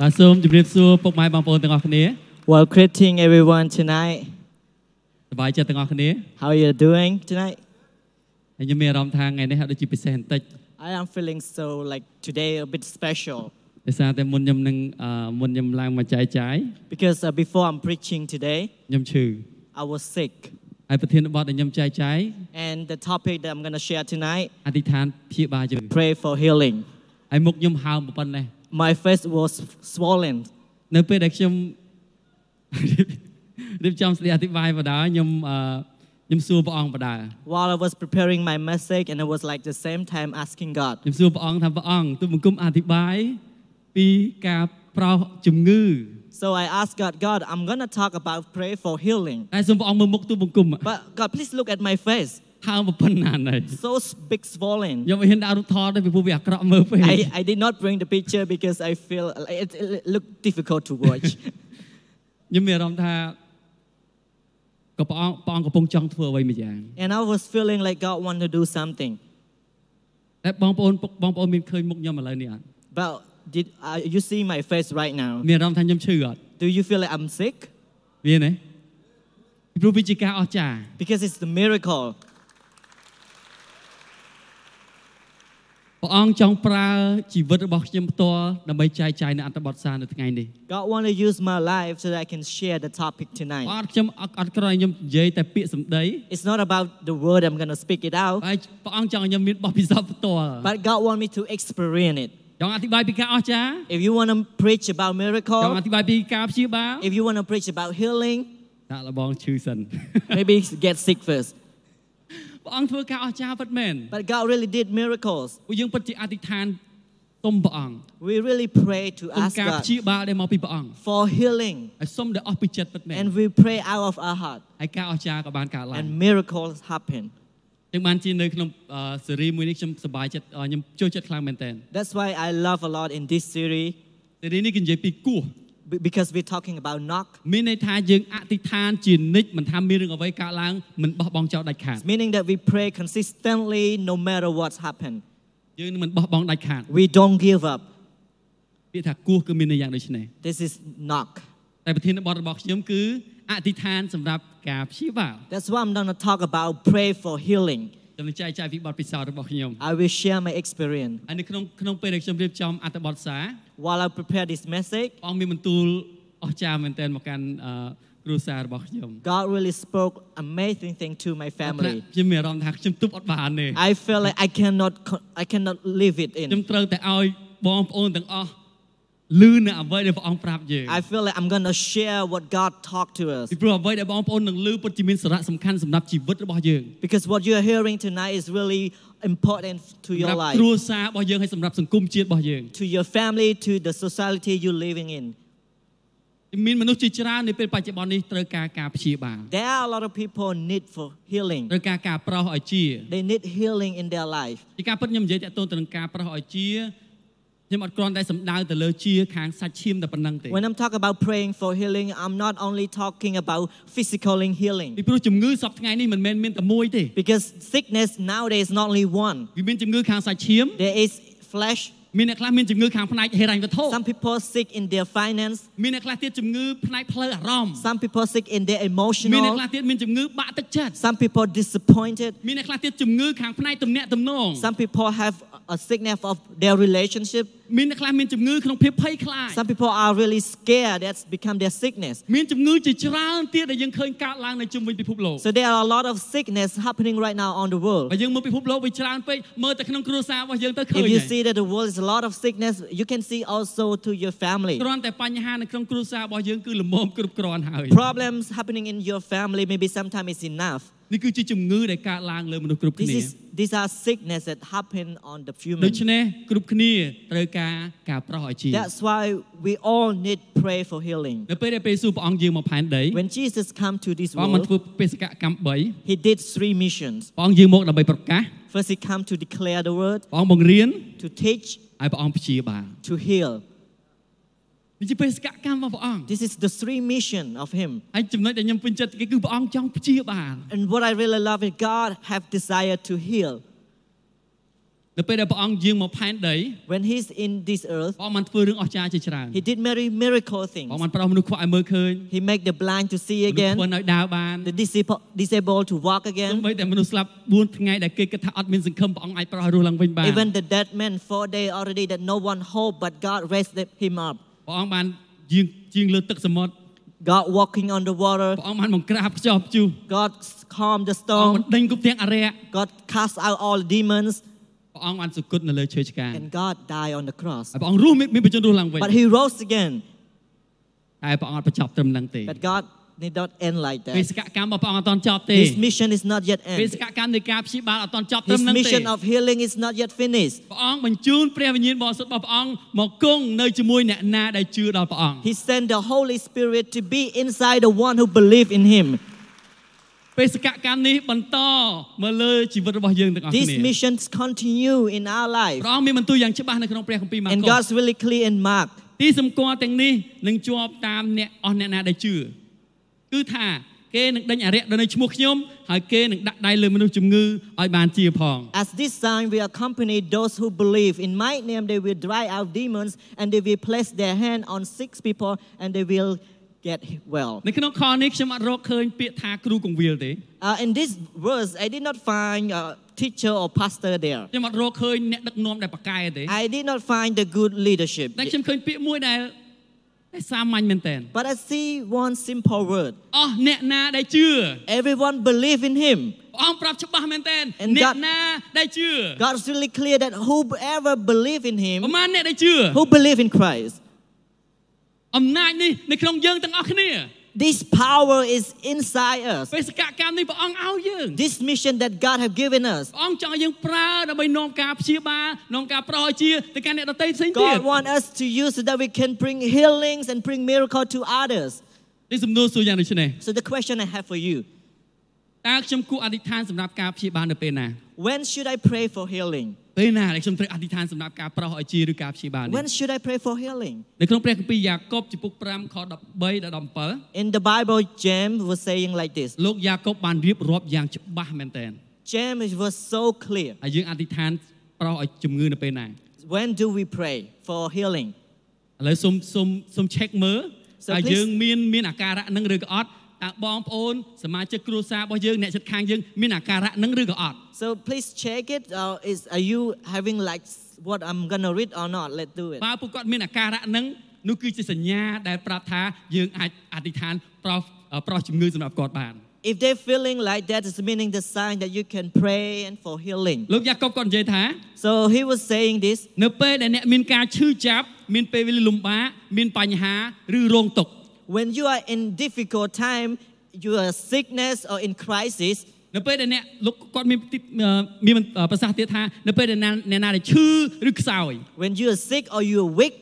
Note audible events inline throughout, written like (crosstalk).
បាទសូមជម្រាបសួរពុកម៉ែបងប្អូនទាំងអស់គ្នា Well, greeting everyone tonight. សប្បាយចិត្តទាំងអស់គ្នា How are you doing tonight? ហើយខ្ញុំមានអារម្មណ៍ថាថ្ងៃនេះហាក់ដូចជាពិសេសបន្តិច I am feeling so like today a bit special ដោយសារតែមុនខ្ញុំនឹងអឺមុនខ្ញុំឡើងមកចែកចាយ because uh, before I'm preaching today, ខ្ញុំឈឺ I was sick. ហើយប្រធានបទដែលខ្ញុំចែកចាយ And the topic that I'm going to share tonight, អធិដ្ឋានព្យាបាលជើង pray for healing. ហើយមុខខ្ញុំហើមប៉ុណ្ណេះ My face was swollen. នៅពេលដែលខ្ញុំ (laughs) រៀបចំស្លៀកអធិប្បាយបដាខ្ញុំអឺខ្ញុំសួរព្រះអង្គបដា While I was preparing my message and I was like the same time asking God, ខ្ញុំសួរព្រះអង្គថាព្រះអង្គទូលបង្គំអធិប្បាយពីការប្រោសជំងឺ so I asked God, God, I'm going to talk about pray for healing. តែសូមព្រះអង្គមើលមុខទូលបង្គំ But God, please look at my face. ហើមប៉ុណ្ណាណៃ So s- big swollen. ខ្ញុំមិនហ៊ានដាក់រូបថតទេពីព្រោះវាអាក្រក់មើលពេក I, I did not bring the picture because I feel like it, it looked difficult to watch. ខ្ញុំមានអារម្មណ៍ថាក៏ព្រះអង្គព្រះអង្គកំពុងចង់ធ្វើអ្វីមួយយ៉ាង and I was feeling like God wanted to do something. តែបងប្អូនពុកបងប្អូនមានឃើញមុខខ្ញុំឥឡូវនេះអត់ But did uh, you see my face right now? មានអារម្មណ៍ថាខ្ញុំឈឺអត់ Do you feel like I'm sick? មានទេពីព្រោះវាជាការអស្ចារ្យ Because it's the miracle. ព្រះអង្គចង់ប្រើជីវិតរបស់ខ្ញុំផ្ទាល់ដើម្បីចែកចាយនៅអត្ថបទសារនៅថ្ងៃនេះ God want to use my life so that I can share the topic ព្រះ tonight. អង្គខ្ញុំអត់អត់ក្រឲ្យខ្ញុំនិយាយតែពាក្យសម្ដី It's not about the word I'm going to speak it out, ហើយព្រះអង្គចង់ឲ្យខ្ញុំមានបទពិសោធន៍ផ្ទាល់ but God want me to experience it. ចង់អធិប្បាយពីការអស្ចារ្យ If you want to preach about ចង់អ miracle, ធិប្បាយពីការព្យាបាល if you want to preach about healing, ដាក់លបងឈឺសិន (laughs) maybe (laughs) get sick first. ព្រះអង្គធ្វើការអស្ចារ្យពិតមែន But God really did miracles. ពួកយើងពិតជាអធិដ្ឋានទុំព្រះអង្គ We really pray to ទុំ ask ការ God ព្យាបាលដែលមកពីព្រះអង្គ for healing ហើយសូមដែលអស់ពីចិត្តពិតមែន and we pray out of our heart ហើយការអស្ចារ្យក៏បានកើតឡើង and miracles happen. ទាំងបានជានៅក្នុងអឺស៊េរីមួយនេះខ្ញុំសប្បាយចិត្តអឺខ្ញុំចូលចិត្តខ្លាំងមែនតើ That's why I love a lot in this series ស៊េរីនេះគឺនិយាយពីគោះ be- because we're talking about knock, មានន័យថាយើងអធិដ្ឋានជានិច្ចមិនថាមានរឿងអ្វីកើតឡើងមិនបោះបង់ចោលដាច់ខាត meaning that we pray consistently no matter what's happened. យើងនឹងមិនបោះបង់ដាច់ខាត We don't give up. ពាក្យថាគោះគឺមានន័យយ៉ាងដូចនេះ This is knock. តែប្រធានបទរបស់ខ្ញុំគឺអធិដ្ឋានសម្រាប់ការព្យាបាល That's why I'm gonna talk about pray for healing. ខ្ញុំនឹងចែកចាយពីបទពិសោធន៍របស់ខ្ញុំ I will share my experience. ហើយនៅក្នុងក្នុងពេលដែលខ្ញុំរៀបចំអត្ថបទសារ While I prepare this message, ព្រះអង្គមានបន្ទូលអស្ចារ្យមែនទែនមកកាន់អឺគ្រួសាររបស់ខ្ញុំ God really spoke amazing thing to my ថ្នាក់ family. ខ្ញុំមានអារម្មណ៍ថាខ្ញុំទប់អត់បានទេ I feel like I cannot, co- I cannot live it ខ្ញុំ in. ត្រូវតែឲ្យបងប្អូនទាំងអស់លឺនៅអ្វីដែលព្រះអង្គប្រាប់យើង I feel like I'm gonna share what God talked to us. ពីព្រោះអ្វីដែលបងប្អូននឹងលឺពិតជាមានសារៈសំខាន់សម្រាប់ជីវិតរបស់យើង Because what you're hearing tonight is really important to ស your ម្រាប់ life, គ្រួសាររបស់យើងហើយសម្រាប់សង្គមជាតិរបស់យើង to your family, to the society you're living in. មានមនុស្សជាច្រើននៅពេលបច្ចុប្បន្ននេះត្រូវការការព្យាបាល There are a lot of people need for healing. ត្រូវការការប្រោសឲ្យជា They need healing in their life. ពីការពិតខ្ញុំនិយាយតាក់ទងទៅនឹងការប្រោសឲ្យជាខ្ញុំអត់គ្រាន់តែសំដៅទៅលើជាខាងសាច់ឈាមតែប៉ុណ្ណឹងទេ When I'm talking about praying for healing, I'm not only talking about physical healing. ពីព្រោះជំងឺសពវថ្ងៃនេះមិនមែនមានតែមួយទេ Because sickness nowadays is not only one. វាមានជំងឺខាងសាច់ឈាម There is flesh. មានអ្នកខ្លះមានជំងឺខាងផ្នែកហិរញ្ញវត្ថុ Some people sick in their finance. មានអ្នកខ្លះទៀតជំងឺផ្នែកផ្លូវអារម្មណ៍ Some people sick in មាន their អ្នក emotional. ខ្លះទៀតមានជំងឺបាក់ទឹកចិត្ត Some people disappointed. មានអ្នកខ្លះទៀតជំងឺខាងផ្នែកទំនាក់ទំនង Some people have a sickness of their relationship. មានអ្នកខ្លះមានជំងឺក្នុងភាពភ័យខ្លាច Some people are really scared. That's become their sickness. មានជំងឺជាច្រើនទៀតដែលយើងឃើញកើតឡើងនៅជុំវិញពិភពលោក So there are a lot of sickness happening right now on the world. បើយើងមើលពិភពលោកវាច្រើនពេកមើលទៅក្នុងគ្រួសាររបស់យើងទៅឃើញ If you ហើយ see that the world is a lot of sickness, you can see also to your family. គ្រាន់តែបញ្ហានៅក្នុងគ្រួសាររបស់យើងគឺលំមគ្រប់គ្រាន់ហើយ Problems happening in your family, maybe sometimes it's enough. នេះគឺជាជំងឺដែលកើតឡើងលើមនុស្សគ្រប់ This គ្នា is these are sickness that happen on the ដូ human. ច្នេះគ្រប់គ្នាត្រូវការការប្រោសឲ្យជា That's why we all need pray for healing. នៅពេលដែលពេលស៊ូព្រះអង្គយើងមកផែនដី When Jesus come to this ព្រះអង្គបាន world, ធ្វើបេសកកម្ម3 he did three missions. ព្រះអង្គយើងមកដើម្បីប្រកាស First, he come to declare the word, ព្រះអង្គបង្រៀន to teach, ហើយព្រះអង្គព្យាបាល to heal. នេះជាបេសកកម្មរបស់ព្រះអង្គ This is the three mission of him. ហើយចំណុចដែលខ្ញុំពេញចិត្តគេគឺព្រះអង្គចង់ព្យាបាល And what I really love is God have desire to heal. នៅ នៅពេលដែលព្រះអង្គយាងមកផែនដី When he's in this earth, ព្រះអង្គបានធ្វើរឿងអស្ចារ្យជាច្រើន he did many miracle ព្រះអង្គ things. បានប្រោសមនុស្សខ្វាក់ឲ្យមើលឃើញ He made the blind to see មនុស្ស again, ធ្វើឲ្យដើរបាន the disable, disabled to walk ទោះ again. បីតែមនុស្សស្លាប់4ថ្ងៃដែលគេគិតថាអត់មានសង្ឃឹមព្រះអង្គអាចប្រោសរស់ឡើងវិញបាន Even the dead man, four days already that no one hope, but God raised him up. ព្រះអង្គបានយាងជាងលើទឹកសមុទ្រ God walking on the water. ព្រះអង្គបានបង្ក្រាបខ្យល់ព្យុះ God calmed the ព្រះអង្គបាន storm. ដេញគប់ទាំងអរិយ God cast out all the demons. ព្រះអង្គបានសុគតនៅលើឈើឆ្កាង And God died on the cross. ហើយព្រះអង្គរស់មានមានបញ្ជនរស់ឡើងវិញ But he rose again. តែព្រះអង្គអត់បញ្ចប់ត្រឹមហ្នឹងទេ But God did not end like បេ that. សកកម្មរបស់ព្រះអង្គអត់ទាន់ចប់ទេ His mission is not yet បេ ended. សកកម្មនៃការព្យាបាលអត់ទាន់ចប់ត្រឹម His ហ្នឹងទេ mission of healing is not yet finished. ព្រះអង្គបញ្ជូនព្រះវិញ្ញាណបរិសុទ្ធរបស់ព្រះអង្គមកគង់នៅជាមួយអ្នកណាដែលជឿដល់ព្រះអង្គ He sent the Holy Spirit to be inside the one who believe in him. បេសកកម្មនេះបន្តមកលើជីវិតរបស់យើងទាំងអស់ These គ្នា missions continue in our life. ព្រះអង្គមានបន្ទូលយ៉ាងច្បាស់នៅក្នុងព្រះគម្ពីរម៉ា And កុស God's really clear in Mark. ទីសម្គាល់ទាំងនេះនឹងជាប់តាមអ្នកអស់អ្នកណាដែលជឿគឺថាគេនឹងដេញអរិយដល់នៅឈ្មោះខ្ញុំហើយគេនឹងដាក់ដៃលើមនុស្សជំងឺឲ្យបានជាផង As this sign will accompany those who believe in my name, they will drive out demons and they will place their hand on sick people and they will get well. នៅក្នុងខនេះខ្ញុំអត់រកឃើញពាក្យថាគ្រូកង្វៀលទេ Uh, in this verse, I did not find a teacher or pastor there. ខ្ញុំអត់រកឃើញអ្នកដឹកនាំដែលប្រកែទេ I did not find the good leadership. តែខ្ញុំឃើញពាក្យមួយដែលដែលសាមញ្ញមែនតើ But I see one simple word. អស់អ្នកណាដែលជឿ Everyone believe in him. ព្រះអង្គប្រាប់ច្បាស់មែនតើ And អ្នក God- ណាដែលជឿ God's really clear that whoever believe in ប្រ him, ហែលអ្នកដែលជឿ who believe in Christ, អំណាចនេះនៅក្នុងយើងទាំងអស់គ្នា this power is inside us. បេសកកម្មនេះព្រះអង្គឲ្យយើង This mission that God have given us. ព្រះអង្គចង់ឲ្យយើងប្រើដើម្បីនាំការព្យាបាលនាំការប្រោសជាទៅកាន់អ្នកដទៃផ្សេងទៀត God want us to use so that we can bring healings and bring miracle to others. នេះសំណួរសួរយ៉ាងដូចនេះ So the question I have for you, តើខ្ញុំគួរអធិដ្ឋានសម្រាប់ការព្យាបាលនៅពេលណា when should I pray for healing? ពេលណាដែលខ្ញុំត្រូវអធិដ្ឋានសម្រាប់ការប្រោសឲ្យជាឬការព្យាបាលនេះ When should I pray for healing? នៅក្នុងព្រះគម្ពីរយ៉ាកុបជំពូក5ខ13ដល់17 In the Bible, James was saying like this. លោកយ៉ាកុបបានរៀបរាប់យ៉ាងច្បាស់មែនទែន James was so clear. ហើយយើងអធិដ្ឋានប្រោសឲ្យជំងឺនៅពេលណា When do we pray for healing? ឥឡូវសូមសូមសូម check មើល So ថា please- យើងមានមានអាការៈនឹងឬក៏អត់តើបងប្អូនសមាជិកគ្រួសាររបស់យើងអ្នកជិតខាងយើងមានអាការៈនឹងឬក៏អត់ So please check it. Uh, is are you having like s- what I'm gonna read or not? Let's do it. បើពួកគាត់មានអាការៈនឹងនោះគឺជាសញ្ញាដែលប្រាប់ថាយើងអាចអធិដ្ឋានប្រោសប្រោសជំងឺសម្រាប់គាត់បាន If they're feeling like that, it's meaning the sign that you can pray and for healing. លោកយ៉ាកុបគាត់និយាយថា So he was saying this. នៅពេលដែលអ្នកមានការឈឺចាប់មានពេលវេលាលំបាកមានបញ្ហាឬរងទុក្ខ When you are in difficult time, you are sickness or in crisis. នៅពេលដែលអ្នកលោកគាត់មានទីអឺមានប្រសាសន៍ទៀតថានៅពេលដែលណាអ្នកណាដែលឈឺឬខ្សោយ When you are sick or you are weak,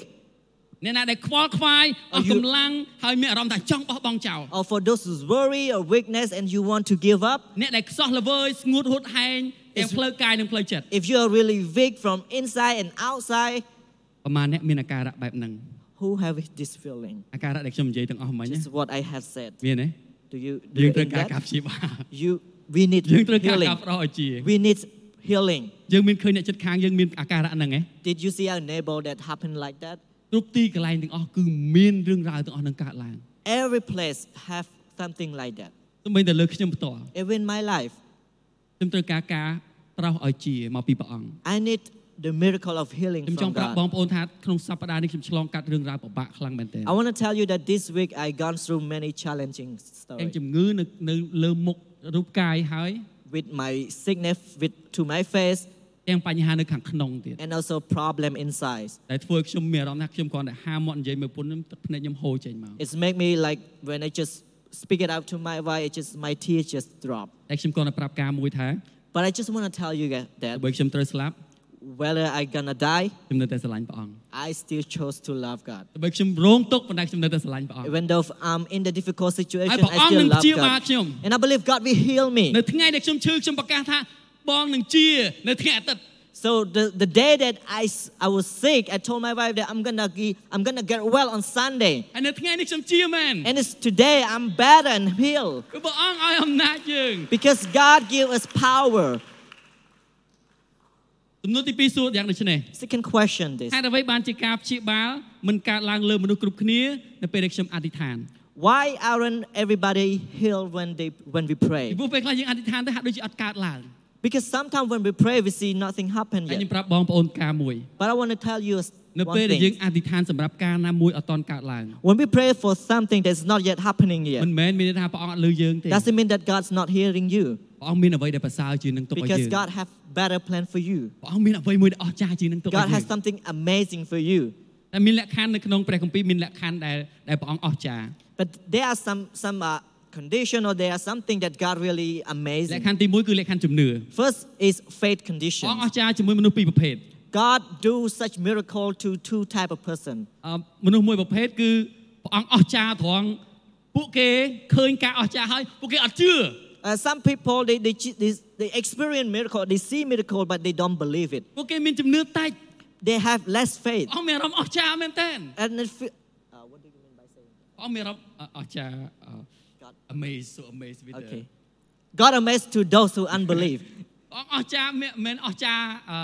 អ្នកណាដែលខ្វល់ខ្វាយអស់ You- កម្លាំងហើយមានអារម្មណ៍ថាចង់បោះបង់ចោល or for those who's worry or weakness and you want to give up. អ្នកដែលខ្សោះល្វើយស្ងួតហួតហែងទាំង It's- ផ្លូវកាយនិងផ្លូវចិត្ត If you are really weak from inside and outside, ប្រហែលអ្នកមានអាការៈបែបហ្នឹង who have this feeling? អាការៈដែលខ្ញុំនិយាយទាំងអស់មិញណា Just what I have said. មានទេ Do you យើ do ង you ត្រូវការ get ការ that? ព្យាបាល (laughs) You we need យើងត្រូវការការ healing. ផ្ដល់ឲ្យជា We need healing. យើងមានឃើញអ្នកចិត្តខាងយើងមានអាការៈហ្នឹងឯង Did you see our neighbor that happened like that? គ្រប់ទីកន្លែងទាំងអស់គឺមានរឿងរ៉ាវទាំងអស់ហ្នឹងកើតឡើង Every place have something like that. ទោះបីតែលើខ្ញុំផ្ទាល់ Even in my life, ខ្ញុំត្រូវការការប្រោសឲ្យជាមកពីព្រះអង្គ I need the miracle of healing ខ្ញុំចង់ from ប្រាប់បង God. ប្អូនថាក្នុងសប្តាហ៍នេះខ្ញុំឆ្លងកាត់រឿងរ៉ាវពិបាកខ្លាំងមែនទែន I want to tell you that this week I gone through many challenging ទាំង stories ជំងឺនៅនៅលើមុខរូបកាយហើយ with my sickness with to my face ទាំងបញ្ហានៅខាងក្នុងទៀត and also problem inside. តែធ្វើឲ្យខ្ញុំមានអារម្មណ៍ថាខ្ញុំគ្រាន់តែហាមាត់និយាយមើលពុនខ្ញុំទឹកភ្នែកខ្ញុំហូរចេញមក It's make me like when I just speak it out to my wife, it just my tears just drop. តែខ្ញុំគ្រាន់តែប្រាប់ការមួយថា But I just want to tell you that- that បើ ខ្ញុំត្រូវស្លាប់ whether I gonna die, ខ្ញុំនៅតែស្រឡាញ់ព្រះអង្គ I still chose to love God. បើខ្ញុំរងទុក្ខប៉ុន្តែខ្ញុំនៅតែស្រឡាញ់ព្រះអង្គ Even though I'm in the difficult situation, Ai bảo I ông still đừng love chia bạc chứ God. không? And I believe God will heal me. នៅថ្ងៃដែលខ្ញុំឈឺខ្ញុំប្រកាសថាបងនឹងជា នៅថ្ងៃអាទិត្យ So the, the day that I, s- I was sick, I told my wife that I'm gonna ge- I'm gonna get well on Sunday. ហើយនៅថ្ងៃនេះខ្ញុំជាមែន And it's today I'm better and healed គឺព្រះអង្គឲ្យអំណាចយើង because God gave us power. ស សំណួរទី2សួរយ៉ាងដូចនេះ Second question this. ហេតុអ្វីបានជាការព្យាបាលមិនកើតឡើងលើមនុស្សគ្រប់គ្នានៅពេលដែលខ្ញុំអធិដ្ឋាន Why aren't everybody healed when they when we ពី pray? ព្រោះពេលខ្លះយើងអធិដ្ឋានទៅហាក់ដូចជាអត់កើតឡើង Because sometimes when we pray we see nothing happen ហើយខ្ញុំ yet. ប្រាប់បងប្អូនការមួយ But I want to tell you s- នៅ one ពេលដែលយើង thing. អធិដ្ឋានសម្រាប់ការណាមួយអត់តន់កើតឡើង When we pray for something that's not yet happening មិ yet, នមែនមានន័យថាព្រះអង្គអត់លើយើងទេ doesn't mean that God's not hearing you ព្រះអង្គមានអ្វីដែលប្រសើរជាងនឹងទុកឲ្យយើ because ង God have better plan for you. ព្រះអង្គមានអ្វីមួយដែលអស្ចារ្យជាងនឹងទុកឲ្យ God យើ has ង something amazing for you. តែមានលក្ខខណ្ឌនៅក្នុងព្រះគម្ពីរមានលក្ខខណ្ឌដែលដែលព្រះអង្គអស្ចារ្យ But there are some some uh, condition or there are something that God really លក្ខ amazing. ខណ្ឌទី1គឺលក្ខខណ្ឌជំនឿ First is faith ព្រះ condition. អង្គអស្ចារ្យជាមួយមនុស្សពីរប្រភេទ God do such miracle to two type of person. អឺមនុស្សមួយប្រភេទគឺព្រះអង្គអស្ចារ្យត្រង់ពួកគេឃើញការអស្ចារ្យហើយពួកគេអត់ជឿ Uh, some people they, they ch- they they experience miracle, they see miracle, but they don't believe it. ពួកគេមានជំនឿតិច They have less faith, ព្រះអង្គមានអារម្មណ៍អស្ចារ្យមែនតើ and it fe- uh, what do you mean by saying? ព្រះអង្គមានអារម្មណ៍អអស្ចារ្យអឺ God, amazed so amazed with the- okay. God amazed to those who unbelieve. ព្រះអង្គអស្ចារ្យមិនមែនអស្ចារ្យអឺ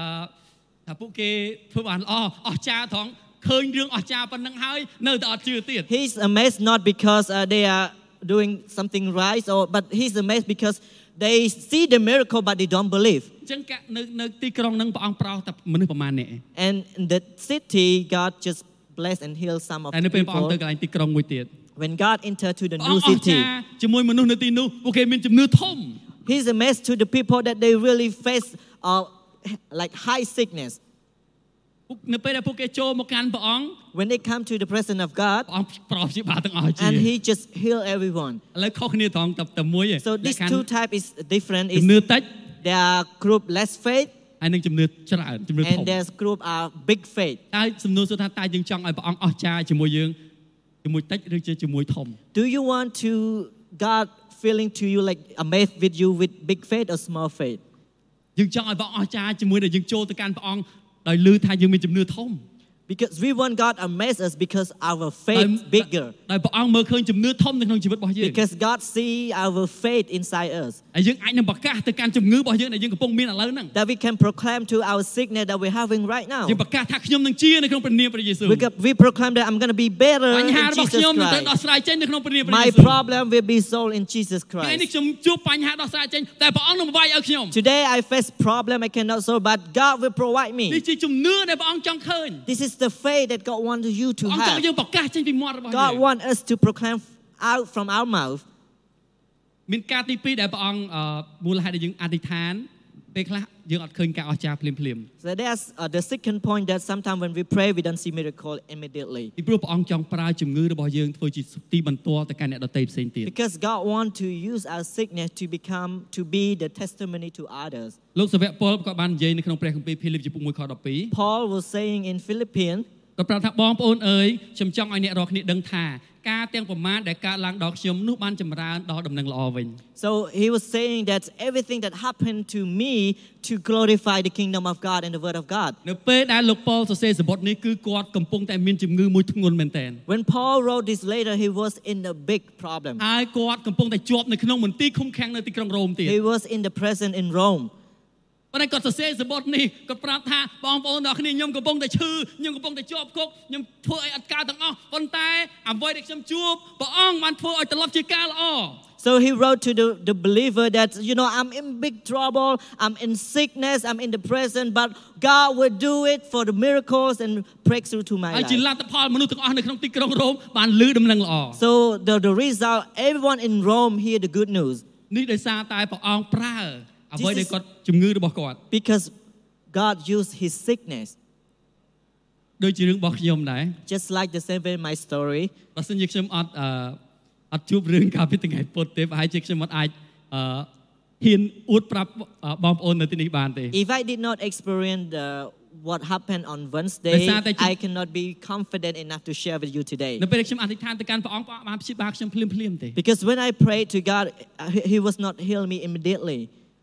ថាពួកគេធ្វើបានល្អអស្ចារ្យត្រង់ឃើញរឿងអស្ចារ្យប៉ុណ្ណឹងហើយនៅតែអត់ជឿទៀត He's amazed not because uh, they are doing something right, or but he's amazed because they see the miracle, but they don't believe. អញ្ចឹងកានៅនៅទីក្រុងហ្នឹងព្រះអង្គប្រោសតែមនុស្សប្រមាណអ្នកឯង And in the city, God just bless and heal some of តែ the Oh, នៅពេលព្រះអង្គ people. ទៅកន្លែងទីក្រុងមួយទៀត When God entered to the ព្រះអ new ង្គអស្ចា city, រ្យជាមួយមនុស្សនៅទីនោះពួកគេមានជំនឿធំ He's amazed to the people that they really face uh, like high sickness. ពួកនៅពេលដែលពួកគេចូលមកកាន់ព្រះអង្គ When they come to the presence of God, ព្រះអង្គប្រោសជាបាលទាំងអស់ជាឥ and He just heal everyone. ឡូវខុសគ្នាត្រង់តែតែមួយឯង So these លក្ខខណ្ឌ two type is different. ជំ Is នឿតិច there are group less faith, ហើយនឹងជំនឿច្រើនជំនឿធំ and there's group are big faith. តើសំណួរសួរថាតើយើងចង់ឲ្យព្រះអង្គអស្ចារ្យជាមួយយើងជាមួយតិចឬជាជាមួយធំ Do you want to God feeling to you like amazed with you with big faith or small faith? យើងចង់ឲ្យព្រះអង្គអស្ចារ្យជាមួយដែលយើងចូលទៅកាន់ព្រះអង្គដោយលឺថាយើងមានជំនឿធំ Because we want God amaze us because our ដោយ faith bigger. ដោយព្រះអង្គមើលឃើញជំនឿធំនៅក្នុងជីវិតរបស់យើង Because God see our faith inside us. ហើយយើងអាចនឹងប្រកាសទៅកាន់ជំងឺរបស់យើងដែលយើងកំពុងមានឥឡូវហ្នឹង That we can proclaim to our sickness that we're having right now. យើងប្រកាសថាខ្ញុំនឹងជានៅក្នុងព្រះនាមព្រះយេស៊ូវ We, we proclaim that I'm going to be better បញ្ហា in របស់ Jesus ខ្ញុំនឹងត្រូវ Christ. ដោះស្រាយចេញនៅក្នុងព្រះនាមព្រះយេ My ស៊ូវ problem will be solved in Jesus ថ្ងៃនេះ Christ. ខ្ញុំជួបបញ្ហាដោះស្រាយចេញតែព្រះអង្គនឹងបវាយឲ្យខ្ញុំ Today I face problem I cannot solve, but God will provide នេះ me. ជាជំនឿដែលព្រះអង្គចង់ឃើញ This is the faith that God wants you to ព្រះអង្គចង់យើ have. ងប្រកាសចេញពីមាត់របស់យើង God wants us to proclaim out from our mouth. មានការទី2ដែលព្រះអង្គអឺមូលហេតុដែលយើងអធិដ្ឋានពេលខ្លះយើងអត់ឃើញការអស្ចារ្យភ្លាមភ្លាម So that's uh, the second point that sometimes when we pray, we don't see miracle immediately. ៗពីព្រោះព្រះអង្គចង់ប្រើជំងឺរបស់យើងធ្វើជាទីបន្ទាល់ទៅកាន់អ្នកដទៃផ្សេងទៀត Because God wants to use our sickness to become, to be the testimony to others. លោកសាវកពលក៏បាននិយាយនៅក្នុងព្រះគម្ពីរភីលីបជំពូក1ខ Paul was saying in Philippians, 12ក៏ប្រាប់ថាបងប្អូនអើយខ្ញុំចង់ឲ្យអ្នករាល់គ្នាដឹងថាការទាំងប្រមាណដែលកើតឡើងដល់ខ្ញុំនោះបានចម្រើនដល់ដំណឹងល្អវិញ so he was saying that everything that happened to me to glorify the kingdom of God and the word of God. នៅពេលដែលលោកប៉ុលសរសេរសម្បត្តិនេះគឺគាត់កំពុងតែមានជំងឺមួយធ្ងន់មែនទែន When Paul wrote this later, he was in a big problem. ហើយគាត់កំពុងតែជាប់នៅក្នុងមន្ទីរឃុំឃាំងនៅទីក្រុងរ៉ូមទៀត He was in the prison in Rome. ប៉ុន្តែគាត់សរសេរសម្បត្តិនេះគាត់ប្រាប់ថាបងប្អូនទាំងអស់គ្នាខ្ញុំកំពុងតែឈឺខ្ញុំកំពុងតែជាប់គុកខ្ញុំធ្វើអីអត់កើតទាំងអស់ប៉ុន្តែអ្វីដែលខ្ញុំជួបព្រះអង្គបានធ្វើឲ្យត្រឡប់ជាការល្អ So he wrote to the, the believer that, you know, I'm in big trouble, I'm in sickness, I'm in the prison, but God will do it for the miracles and breakthrough to my ហើយជាល life. ទ្ធផលមនុស្សទាំងអស់នៅក្នុងទីក្រុងរ៉ូមបានលឺដំណឹងល្អ So the, the result, everyone in Rome hear the good news នេះដោយសារតែព្រះអង្គប្រើអ្វី Jesus- ដែលគាត់ជំងឺរបស់គាត់ because God used his sickness. ដូចជារឿងរបស់ខ្ញុំដែរ Just like the same way in my story, បើសិនជាខ្ញុំអត់អឺអត់ជួបរឿងកាលពីថ្ងៃពុធទេប្រហែលជាខ្ញុំអត់អាចអឺហ៊ានអួតប្រាប់អឺបងប្អូននៅទីនេះបានទេ if I did not experience the, what happened on ដោយ Wednesday, សារតែជា I cannot be confident enough to share with you today. នៅពេលដែលខ្ញុំអធិដ្ឋានទៅកាន់ព្រះអង្គព្រះអង្គបានព្យាបាលខ្ញុំភ្លាមភ្លាមៗទេ Because when I prayed to God, uh, He He was not heal me immediately.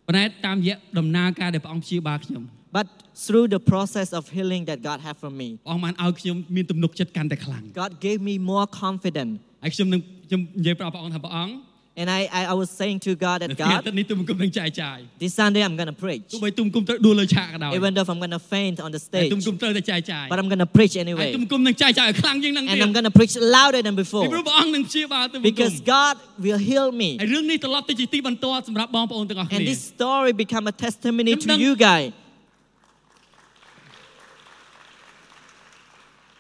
ប៉ុន្តែតាមរយៈដំណើរការដែលព្រះអង្គព្យាបាលខ្ញុំ But through the process of healing that God had for me, ព្រះអង្គបានឲ្យខ្ញុំមានទំនុកចិត្តកាន់តែខ្លាំង God gave me more confidence. ហើយខ្ញុំនឹងខ្ញុំនិយាយប្រាប់ព្រះអង្គថាព្រះអង្គ And I, I, I was saying to God នៅ (laughs) that ថ្ងៃអាទិ God, ត្យនេះទុំគុំនឹងចែកចាយ this Sunday I'm gonna preach. ទោះបីទុំគុំត្រូវដួលលើឆាកក៏ដោយ Even though if I'm gonna faint on the តែ stage, ទុំគុំត្រូវតែចែកចាយ but I'm gonna preach ហើយ anyway. ទុំគុំនឹងចែកចាយឲ្យខ្លាំងជាងនឹងទៀ And ត I'm gonna preach louder than ពីព្រោះ before. ព្រះអង្គនឹងព្យាបាលទុំគុំ Because God will heal me. ហើយរឿងនេះត្រឡប់ទៅជាទីបន្ទាល់សម្រាប់បងប្អូនទាំងអស់គ្នា And this story become a testimony to Dum-dum. you guys.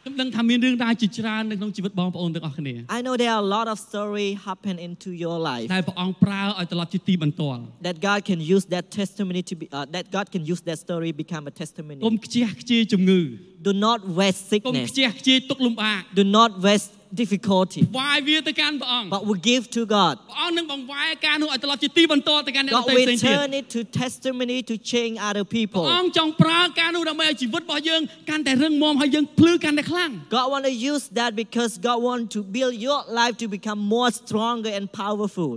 ខ្ញុំដឹងថាមានរឿងរ៉ាវជាច្រើននៅក្នុងជីវិតបងប្អូនទាំងអស់គ្នា I know there are a lot of story happen into your life តែព្រះអង្គប្រើឲ្យត្រឡប់ជាទីបន្ទាល់ that God can use that testimony to be uh, that God can use that story become a កុំ testimony. ខ្ជះខ្ជាយជំងឺ Do not waste កុំ sickness. ខ្ជះខ្ជាយទុក្ខលំបាក Do not waste difficulty. វាយវាទៅកាន់ព្រះអង្គ But we give to God. ព្រះអង្គនឹងបង្វែរការនោះឲ្យត្រឡប់ជាទីបន្ទាល់ទៅកាន់អ្នកដ God ទៃ will ផ្សេងទៀត turn it to testimony to change other ព្រះអ people. ង្គចង់ប្រើការនោះដើម្បីឲ្យជីវិតរបស់យើងកាន់តែរឹងមាំហើយយើងភ្លឺកាន់តែខ្លាំង God want to use that because God want to build your life to become more stronger and powerful.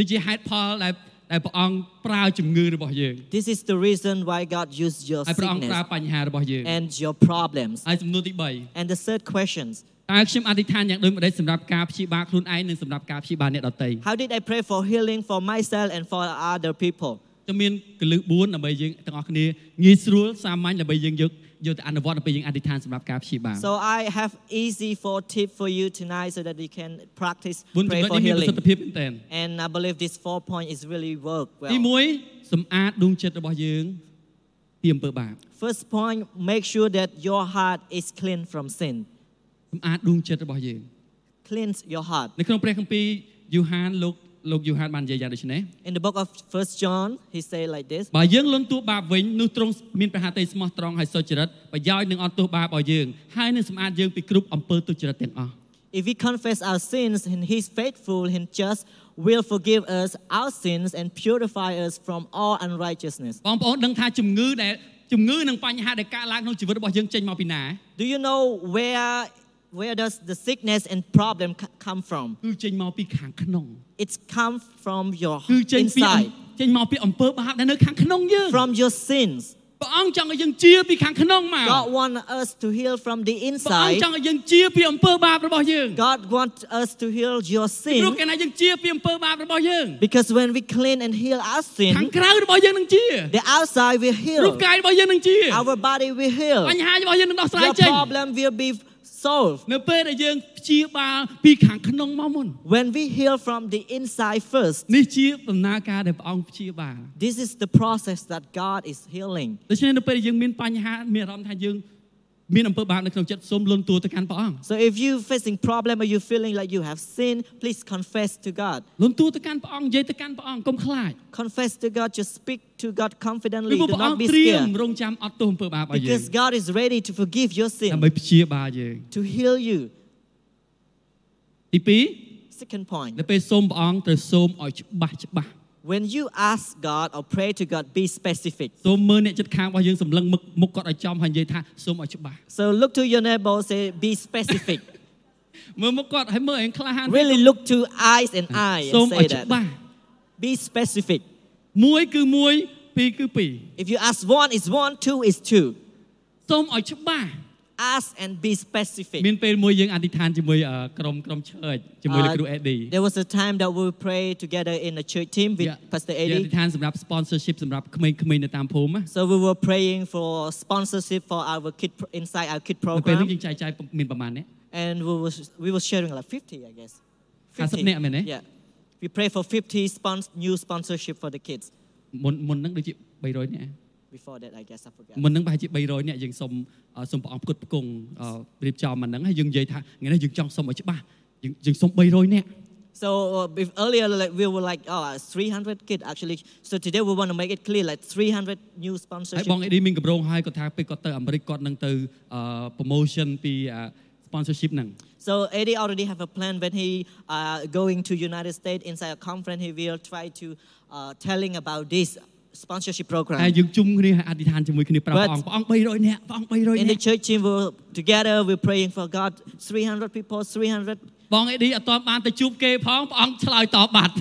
នេះជាហេតុផលដែលដែលព្រះអង្គប្រើជំងឺរបស់យើង This is the reason why God used your ហើយព្រះអង្គប្រើ sickness បញ្ហារបស់យើង and your problems. ហើយសំណួរទី And the third question, 3តើខ្ញុំអធិដ្ឋានយ៉ាងដូចម្តេចសម្រាប់ការព្យាបាលខ្លួនឯងនិងសម្រាប់ការព្យាបាលអ្នកដទៃ how did I pray for healing for myself and for other people? ខ្ញុំមានកលឹះ4ដើម្បីយើងទាំងអស់គ្នាងាយស្រួលសាមញ្ញដើម្បីយើងយកយកទៅអនុវត្តទៅពេលយើងអធិដ្ឋានសម្រាប់ការព្យាបាល So I have easy for tip for you tonight so that you can practice 4ចំណុ pray ច for នេះមានប្រសិទ្ធ healing. ភាពមែនទែន And I believe this four point is really work ទី well. 1សម្អាតដួងចិត្តរបស់យើងពីអំពើបាប First point, make sure that your heart is clean from sin. សម្អាតដួងចិត្តរបស់យើង Cleanse your heart. នៅក្នុងព្រះគម្ពីរយូហានលោកលោកយូហានបាននិយាយយ៉ាងដូចនេះ In the book of First John, he say like this. បើយើងលន់ទួបាបវិញនោះទ្រង់មានព្រះហត្ថលេខាស្មោះត្រង់ហើយសុចរិតប្រយោជន៍នឹងអត់ទួបាបឲ្យយើងហើយនឹងសម្អាតយើងពីគ្រប់អំពើទុច្ចរិតទាំងអស់ If we confess our sins, and He is faithful and just, will forgive us our sins and purify us from all unrighteousness. បងប្អូនដឹងថាជំងឺដែលជំងឺនិងបញ្ហាដែលកើតឡើងក្នុងជីវិតរបស់យើងចេញមកពីណា Do you know where where does the sickness and problem c- come from? គឺចេញមកពីខាងក្នុង It's come from your គឺចេញពីអំ inside, ចេញមកពីអំពើបាបដែលនៅខាងក្នុងយើង from your sins. ព្រះអង្គចង់ឲ្យយើងជាពីខាងក្នុងមក God want us to heal from the ព្រះអង្គ inside. ចង់ឲ្យយើងជាពីអំពើបាបរបស់យើង God want us to heal your ព្រោះ sin កាលណាយើងជាពីអំពើបាបរបស់យើង because when we clean and heal our ខាង sin, ក្រៅរបស់យើងនឹងជា the outside will រូប heal. កាយរបស់យើងនឹងជា Our body will heal. បញ្ហារបស់យើងនឹងដោះស្រាយ Your ចេញ problem will be solved. នៅពេលដែលយើងព្យាបាលពីខាងក្នុងមកមុន When we heal from the inside first, នេះជាដំណើរការដែលព្រះអង្គព្យាបាល this is the process that God is healing. ដូច្នេះនៅពេលដែលយើងមានបញ្ហាមានអារម្មណ៍ថាយើងមានអំពើបាបនៅក្នុងចិត្តសូមលន់តួទៅកាន់ព្រះអង្គ So if you facing problem or you feeling like you have sin, please confess to God. លន់តួទៅកាន់ព្រះអង្គនិយាយទៅកាន់ព្រះអង្គកុំខ្លាច Confess to God, just speak to God ពី confidently. ព្រោះ Do ព្រះអង្គ not be ត្រៀម scared. រងចាំអត់ទោសអំពើបាបឲ្យយើង Because God is ready to forgive your ដើម្បី sin, ព្យាបាលយើង to heal you. ទី Second 2 point, នៅពេលសូមព្រះអង្គត្រូវសូមឲ្យច្បាស់ច្បាស់ when you ask God or pray to God, be specific. សូមមើលអ្នកចិត្តខាងរបស់យើងសម្លឹងមុខមុខគាត់ឲ្យចំហើយនិយាយថាសូមឲ្យច្បាស់ So look to your neighbor, say, be specific. មើលមុខគាត់ឲ្យមើលឯងក្លាហាន really look to eyes and eye សូម and ឲ្យ say ច្បាស់ that. Be specific. មួយគឺមួយពីរគឺពីរ If you ask one, it's one, two, is two. សូមឲ្យច្បាស់ Ask and be specific. មានពេលមួយយើងអធិដ្ឋានជាមួយអឺក្រុមក្រុមឆើចជាមួយលោក Uh, គ្រូអេឌី There was a time that we pray together in a church team with យើង Pastor យើងអធិ Eddie. ដ្ឋានសម្រាប់ sponsorship សម្រាប់ក្មេងៗនៅតាមភូមិណា So we were praying for sponsorship for our kid pro- inside our kid នៅពេលនេះ program, យើងចែកចាយមានប្រមាណអ្នក and we was we were sharing like 50, I guess. 50អ្នកមែនទេ Yeah, we pray for 50 spons- new sponsorship for the kids. មុនមុនហ្នឹងដូចជា300អ្នក Before that, I guess I forgot. មុនហ្នឹងប្រហែលជា300អ្នកយើងសុំអឺសុំព្រះអង្គផ្គត់ផ្គង់អឺរៀបចំមកហ្នឹងហើយយើងនិយាយថាថ្ងៃនេះយើងចង់សុំឲ្យច្បាស់យើងយើងសុំ300អ្នក So uh, if earlier like, we were like, oh, uh, 300 kids actually. So today we want to make it clear, like 300 new ហើយ sponsorship. បងអេឌីមានកម្រងហើយគាត់ថាពេលគាត់ទៅអាមេរិកគាត់នឹងទៅអឺ promotion ពីអឺ sponsorship ហ្នឹង So Eddie already have a plan when he uh, going to United States inside a conference. He will try to uh, telling about this sponsorship ហើយ program. យើងជុំគ្នាហើយអធិដ្ឋានជាមួយគ្នាប្រាប់ But- ព្រះអង្គព្រះអង្គ300នាក់ព្រះអង្គ300 In នាក់ the church team, we're together. We're praying for God. 300 people, 300. បងអេឌីអត់ទាន់បានទៅជួបគេផងព្រះអង្គឆ្លើយតបបាត់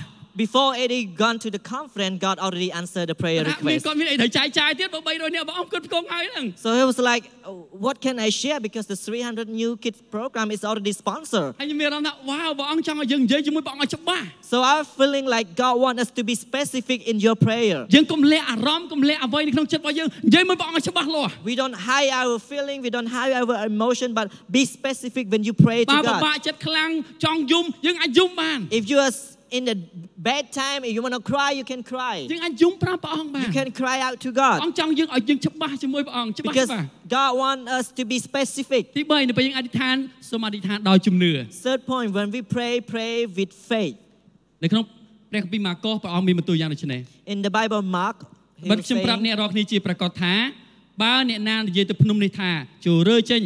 Before Eddie gone to the conference, God already answered the prayer (laughs) ថាមាន request. គាត់មានអីត្រូវចាយចាយទៀតបើ300នាក់បងអង្គគាត់ផ្គងហើយហ្នឹង So it was like, oh, what can I share? Because the 300 new kids program is already sponsored. ហើយខ្ញុំមានអារម្មណ៍ថាវ៉ាវព្រះអង្គចង់ឲ្យយើងនិយាយជាមួយព្រះអង្គឲ្យច្បាស់ So I'm feeling like God wants us to be specific in your prayer. យើងកុំលាក់អារម្មណ៍កុំលាក់អ្វីនៅក្នុងចិត្តរបស់យើងនិយាយមួយព្រះអង្គឲ្យច្បាស់លាស់ We don't hide our feeling, we don't hide our emotion, but be specific when you pray បើ to ពិបា God. កចិត្តខ្លាំងចង់យំយើងអាចយំបាន If you are s- in a bad time, if you want to cry, you can cry. យើងអាចយំប្រាប់ព្រះអង្គបាន You ព្រះ can cry out to អ God ង្គចង់យើងឲ្យយើងច្បាស់ជាមួយព្រះអង្គច្បាស់ because ច្បាស់ God wants us to be specific. ទី3នៅពេលយើងអធិដ្ឋានសូមអធិដ្ឋានដោយជំនឿ Third point, when we pray, pray with faith. នៅក្នុងព្រះគម្ពីរម៉ាកុសព្រះអង្គមានបន្ទូលយ៉ាងដូចនេះ In the Bible, Mark, he បើ was ខ្ញុំប្រាប់ saying, អ្នករាល់គ្នាជាប្រកាសថាបើអ្នកណានិយាយទៅភ្នំនេះថាចូលរើចេញ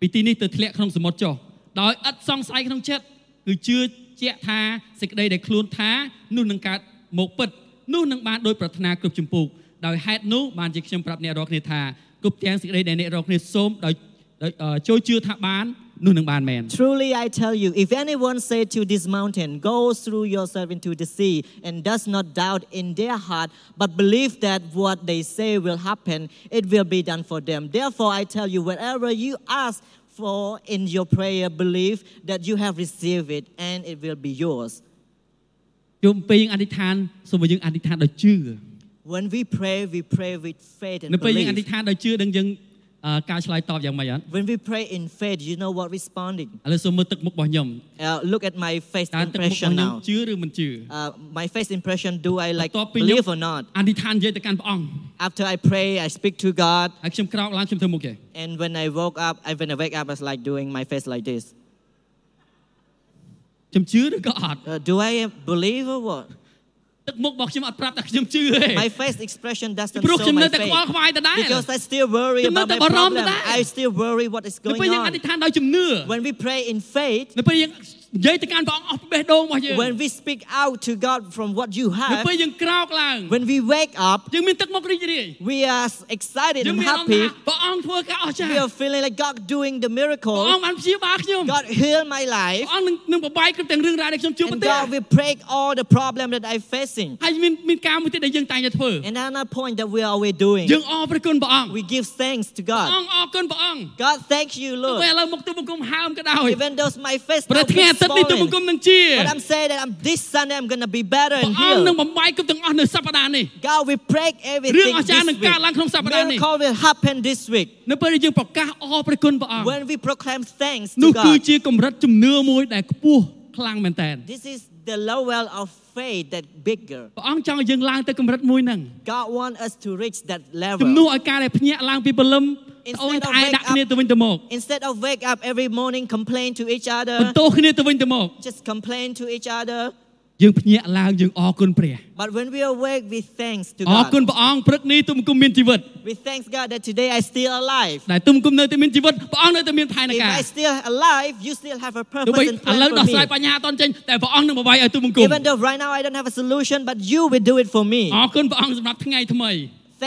ពីទីនេះទៅធ្លាក់ក្នុងសមុទ្រចុះដោយឥតសង្ស័យក្នុងចិត្តគឺជឿជាក់ថាសេចក្តីដែលខ្លួនថានោះនឹងកើតមកពិតនោះនឹងបានដោយប្រាថ្នាគ្រប់ជំពូកដោយហេតុនោះបានជាខ្ញុំប្រាប់អ្នករាល់គ្នាថាគ្រប់ទាំងសេចក្តីដែលអ្នករាល់គ្នាសូមដោយដោយអឺចូលជឿថាបាននោះនឹងបានមែន Truly I tell you, if anyone say to this mountain, Go through yourself into the sea, and does not doubt in their heart, but believe that what they say will happen, it will be done for them. Therefore I tell you, whatever you ask for in your prayer, believe that you have received it, and it will be yours. យើងពេលយើងអធិដ្ឋានសូមឲ្យយើងអធិដ្ឋានដោយជឿ When we pray, we pray with faith and នៅពេលយើងអធិ belief. ដ្ឋានដោយជឿដឹងយើងអឺការឆ្លើយតបយ៉ាងម៉េចអត់ When we pray in faith, you know what responding. ឥឡូវសូមមើលទឹកមុខរបស់ខ្ញុំ Uh, look at my face តើទឹកមុខរបស់ impression ខ្ញុំ now. ជឿឬមិនជឿ Uh, my face impression, do I like បន្ទាប់ពីខ្ញុំ believe or not? អធិដ្ឋាននិយាយទៅកាន់ព្រះអង្គ After I pray, I speak to God, ហើយខ្ញុំក្រោកឡើងខ្ញុំធ្វើមុខគេ and when I woke up, I, when I wake up, I was like doing my face like this. ខ្ញុំជឿឬក៏អត់ Uh, do I believe or what? ទឹកមុខរបស់ខ្ញុំអត់ប្រាប់ថាខ្ញុំជឿទេ My face expression doesn't ព្រោះ show ខ្ញុំនៅ my តែខ្វល់ faith ខ្វាយដដែល because I still worry Chúng ta about my bỏ rơm problem. ra. I still worry what is នៅពេល going យើងអ on. ធិដ្ឋានដោយជំនឿ When we pray in faith, នៅពេលយើងនិយាយទៅកាន់ព្រះអង្គអស់បេះដូងរបស់យើង when we speak out to God from what you នៅ have, ពេលយើងក្រោកឡើង when we wake up, យើងមានទឹកមុខរីករាយ we are excited យើង and មានអារម្មណ៍ថា happy. ព្រះអង្គធ្វើការអស្ចារ្យ We are feeling like God doing the ព្រះអង្គ miracle. បានព្យាបាលខ្ញុំ God healed my ព្រះ life, អង្គនឹងនឹងប្របាយគ្រប់ទាំងរឿងរ៉ាវដែលខ្ញុំជួបប្រ and ទះ God will break all the problem that I'm facing. ហើយមានមានការមួយទៀតដែលយើងតែងតែធ្វើ And another point that we are always doing, យើងអរព្រះគុណព្រះអង្គ we give thanks to ព្រះអ God. ង្គអរគុណព្រះអង្គ God, thank you, ទោះបី Lord. ឥឡូវមកទូលបង្គំហើមក៏ដោយ Even though my face ព្រះ now ថ្ងៃអា is ទិត្យនេះទូលបង្គំ swollen, នឹងជា but I'm saying that I'm, this Sunday I'm gonna be better ព្រះ and អង្គនឹង healed. បំបែកគ្រប់ទាំងអស់នៅសប្តាហ៍នេះ God, we break រឿង everything អស្ចារ្យនឹង this កើតឡើង week. ក្នុងសប្តាហ៍នេះ Miracle will happen this week នៅពេលដែលយើងប្រកាសអរព្រះគុណព្រះអង្គ when we proclaim thanks នោះ to គឺ God. ជាកម្រិតជំនឿមួយដែលខ្ពស់ខ្លាំងមែនតើ This is the level of faith that bigger. ព្រះអង្គចង់ឲ្យយើងឡើងទៅកម្រិតមួយហ្នឹង God wants us to reach that ជំនួស level. ឲ្យការដែលភ្ញាក់ឡើងពីព្រលឹម Instead ត្អូន of ត្អែ wake ដាក់គ្នាទៅវិញទៅមក Instead of wake up every morning complain to each បន្ other, ទោសគ្នាទៅវិញទៅមក just complain to each other. យើងភ្ញាក់ឡើងយើងអរគុណព្រះ But when we awake, we thanks to អរ God. គុណព្រះអង្គព្រឹកនេះទូលបង្គំមានជីវិត We thanks God that today I still alive. ដែលទុំគុំនៅតែមានជីវិតព្រះអង្គនៅតែមានផែន If ការ I still alive, you still have a ទោះបី purpose and ឥ plan ឡូវ for ដោះស្រាយ me. បញ្ហាអត់ទាន់ចេញតែព្រះអង្គនឹងបវាយឲ្យទូលបង្គំ Even though right now I don't have a solution, but you will do it for អ me. រគុណព្រះអង្គសម្រាប់ថ្ងៃថ្មី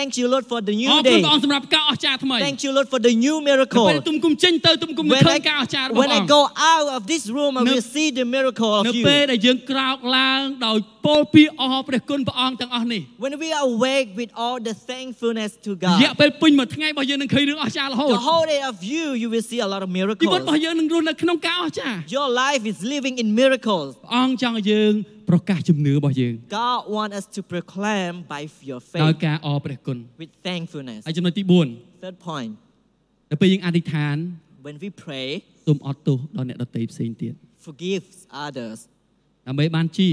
Thank you, Lord, for the អរ new គុណ day. ព្រះអង្គសម្រាប់ការអស្ចារ្យថ្មី Thank you, Lord, for the new ពេល miracle. ទុំគុំចេញទៅទុំគុំនឹង When ឃើ I, ញការអស្ចារ្យរបស់ when ព្រះអ I ង្គ go out of this room, I Nếu- will see the miracle នៅ of ពេល you. ដែលយើងក្រោកឡើងដោយពោលពាក្យអរព្រះគុណព្រះអង្គទាំងអស់នេះ When we are awake with all the thankfulness to រយៈ God, ពេលពេញមួយថ្ងៃរបស់យើងនឹងឃើញរឿងអស្ចារ្យរហូត the whole day of you, you will see a lot of ជីវិត miracles. របស់យើងនឹងរស់នៅក្នុងការអស្ចារ្យ Your life is living in miracles. ព្រះអង្គចង់ឲ្យយើងប្រកាសជំនឿរបស់យើង God wants us to proclaim by your ដោយ faith ការអរព្រះគុណ with thankfulness. ហើយចំណុចទី Third point, 4នៅពេលយើងអធិដ្ឋាន when we pray, សូមអត់ទោសដល់អ្នកដទៃផ្សេងទៀត forgive others. ដើម្បីបានជា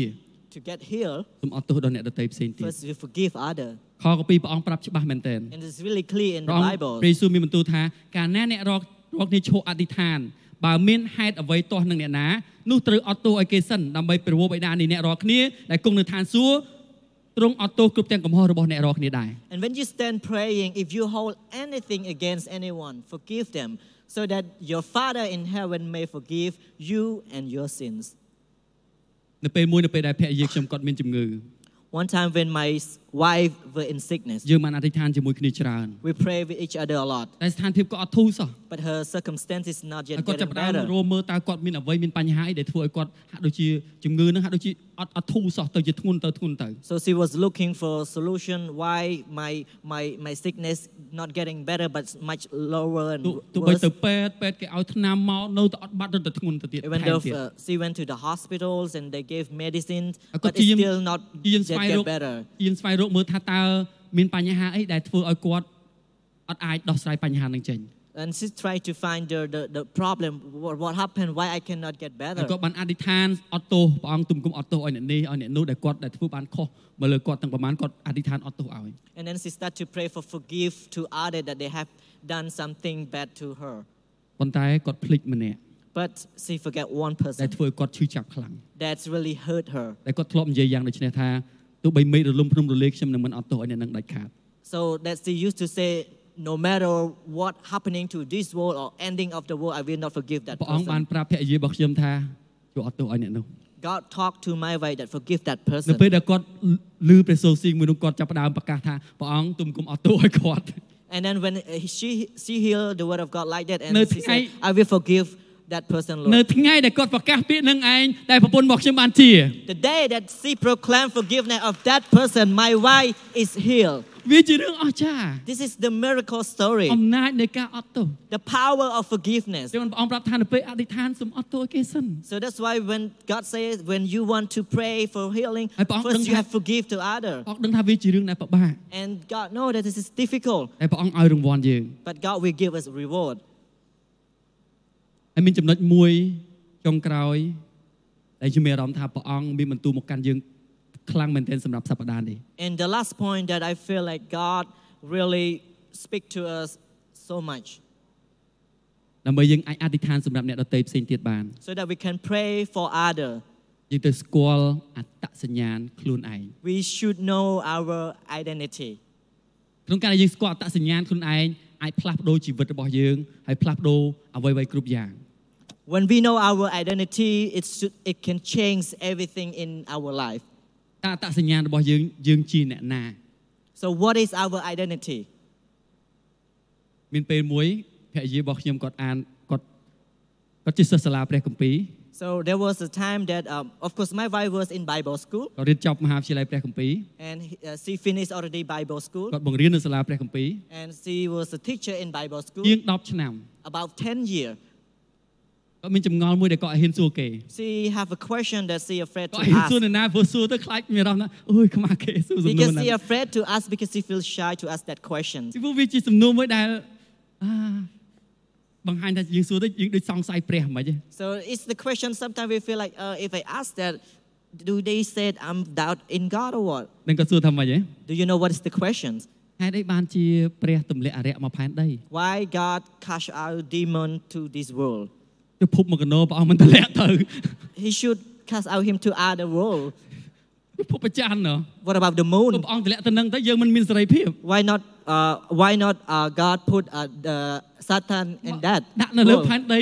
To get healed, សូមអត់ទោសដល់អ្នកដទៃផ្សេងទៀត first we forgive others. ខកពីព្រះអង្គប្រាប់ច្បាស់មែនទែន And it's really clear in ព្រះ the អង្គ Bible. ព្រះយេស៊ូវមានបន្ទូលថាការណាអ្នករករកគ្នាឈោះអធិដ្ឋាន បើមានហេតុអ្វីទាស់នឹងអ្នកណានោះត្រូវអត់ទោសឲ្យគេសិនដើម្បីប្រវោបបិតានៃអ្នករកគ្នាដែលគង់នៅឋានសួគ៌ទ្រង់អត់ទោសគ្រប់ទាំងកំហុសរបស់អ្នករកគ្នាដែរ And when you stand praying, if you hold anything against anyone, forgive them, so that your Father in heaven may forgive you and your sins. នៅពេលមួយនៅពេលដែលភរិយាខ្ញុំគាត់មានជំងឺ One time when my s- wife were in sickness, យើងបានអធិដ្ឋានជាមួយគ្នាច្រើន we pray with each other a lot. តែស្ថានភាពក៏អត់ធូរសោះ but her circumstance is not ហើយ yet គាត់ getting ចាប់ផ្ដើម better. រមើលតើគាត់មានអ្វីមានបញ្ហាអីដែលធ្វើឲ្យគាត់ហាក់ដូចជាជំងឺហ្នឹងហាក់ដូចជាអត់អត់ធូរសោះទៅជាធ្ងន់ទៅធ្ងន់ទៅ So she was looking for a solution why my my my sickness not getting better but much lower ទោះ and ទោះបី worse. ទៅពេទ្យពេទ្យគេឲ្យថ្នាំមកនៅតែអត់បាត់រត់តែធ្ងន់ទៅទៀត Even ថែម though ទៀត uh, she went to the hospitals and they gave medicines, À, có but it's chim- still not យាន yet ស្វែងរក get better. យានស្វែងរកមើលថាតើមានបញ្ហាអីដែលធ្វើឲ្យគាត់អត់អាចដោះស្រាយបញ្ហាហ្នឹងចេញ And she tried to find the, the, the problem, what, what happened, why I cannot get ហើយ better. គាត់បានអធិដ្ឋានអត់ទោសព្រះអង្គទុំគុំអត់ទោសឲ្យអ្នកនេះឲ្យអ្នកនោះដែលគាត់ដែលធ្វើបានខុសមកលើគាត់ទាំងប្រមាណគាត់អធិដ្ឋានអត់ទោសឲ្យ And then she started to pray for forgive to others that they have done something bad to her. ប៉ុន្តែគាត់ភ្លេចម្នាក់ But she forget one ដែល person ធ្វើឲ្យគាត់ឈឺចាប់ខ្លាំង that's really hurt her. ដែលគាត់ធ្លាប់និយាយយ៉ាងដូចនេះថាទោះបីមេឃរលំភ្នំរលាយខ្ញុំនឹងមិនអត់ទោសឲ្យអ្នកនឹងដាច់ខាត So that she used to say, no matter what happening to this world or ending of the world, I will not forgive that ព្រះអង្គបាន person. ប្រាប់ភរិយារបស់ខ្ញុំថាជួយអត់ទោសឲ្យអ្នកនោះ God talked to my wife that forgive that នៅ person. ពេលដែលគាត់ឮព្រះសូរសៀងមួយនោះគាត់ចាប់ផ្ដើមប្រកាសថាព្រះអង្គទុំគុំអត់ទោសឲ្យគាត់ And then when uh, she she heard the word of God like that, and Nơi she thứ said, hai- I will forgive that person, (laughs) នៅ Lord. ថ្ងៃដែលគាត់ប្រកាសពាក្យនឹងឯងដែលប្រពន្ធរបស់ខ្ញុំបានជា The day that she proclaimed forgiveness of that person, my wife is healed. វាជារឿងអស្ចារ្យ This is the miracle story, (laughs) អំណាចនៃការអត់ទោស the power of forgiveness. ទេវតាព្រះអង្គប្រាប់ថានៅពេលអធិដ្ឋានសូមអត់ទោសឲ្យគេសិន So that's why when God says, when you want to pray for healing, Ai bảo first đừng you tha- have forgive to other. ព្រះអង្គដឹងថាវាជារឿងដែលពិបាក And God know that this is difficult, តែព្រះអង្គឲ្យរង្វាន់យើង but God will give us reward. ហើយមានចំណុចមួយចុងក្រោយដែលខ្ញុំមានអារម្មណ៍ថាព្រះអង្គមានបន្ទូលមកកាន់យើងខ្លាំងមែនទែនសម្រាប់សប្តាហ៍នេះ And the last point that I feel like God really speak to us so much. ដើម្បីយើងអាចអធិដ្ឋានសម្រាប់អ្នកដទៃផ្សេងទៀតបាន so that we can pray for other. យើងទៅស្គាល់អត្តសញ្ញាណខ្លួនឯង We should know our identity. ក្នុងការដែលយើងស្គាល់អត្តសញ្ញាណខ្លួនឯងអាចផ្លាស់ប្ដូរជីវិតរបស់យើងហើយផ្លាស់ប្ដូរអ្វីៗគ្រប់យ៉ាង When we know our identity, it, should, it can change everything in our life. តើអត្តសញ្ញាណរបស់យើងយើងជាអ្នកណា So, what is our identity? មានពេលមួយភរិយារបស់ខ្ញុំគាត់អានគាត់គាត់ជាសិស្សសាលាព្រះគម្ពីរ So, there was a time that, um, of course, my wife was in Bible school គាត់រៀនចប់មហាវិទ្យាល័យព្រះគម្ពី and he- uh, she finished already Bible រ school គាត់បង្រៀននៅសាលាព្រះគម្ពីរ and she was a teacher in Bible ជាង school 10ឆ្នាំ about 10 years. គាត់មានចម្ងល់មួយដែលគាត់អត់ហ៊ានសួរគេ She have a question that she afraid គា to ត់អត់ហ៊ាន ask សួរអ្នកណាព្រោះសួរទៅខ្លាចមានអារម្មណ៍ថាអូយខ្មាស់គេសួរសំណួរ because ណា she afraid to ask because she feels shy to ask that question. ពីព្រោះវាជាសំណួរមួយដែលអាបង្ហាញថាយើងសួរទៅយើងដូចសង្ស័យព្រះហ្មងឯង So it's the question sometimes we feel like, uh, if I ask that, do they say I'm doubt in God or what? នឹងក៏សួរថាម៉េចឯង Do you know what is the question? ហេតុអីបានជាព្រះទម្លាក់អរិយមកផែនដី Why God cast out demon to this world? ទៅភពមកកណោព្រះអង្គមិនទម្លាក់ទៅ He should cast out him to other world. ពិភពប្រច័នណោះ What about the ព្រោះ moon? ព្រះអង្គទម្លាក់ទៅនឹងទៅយើងមិនមានសេរីភាព Why not? Uh, why not? Uh, God put uh, the Satan in that ដាក់នៅលើ world? ផែនដី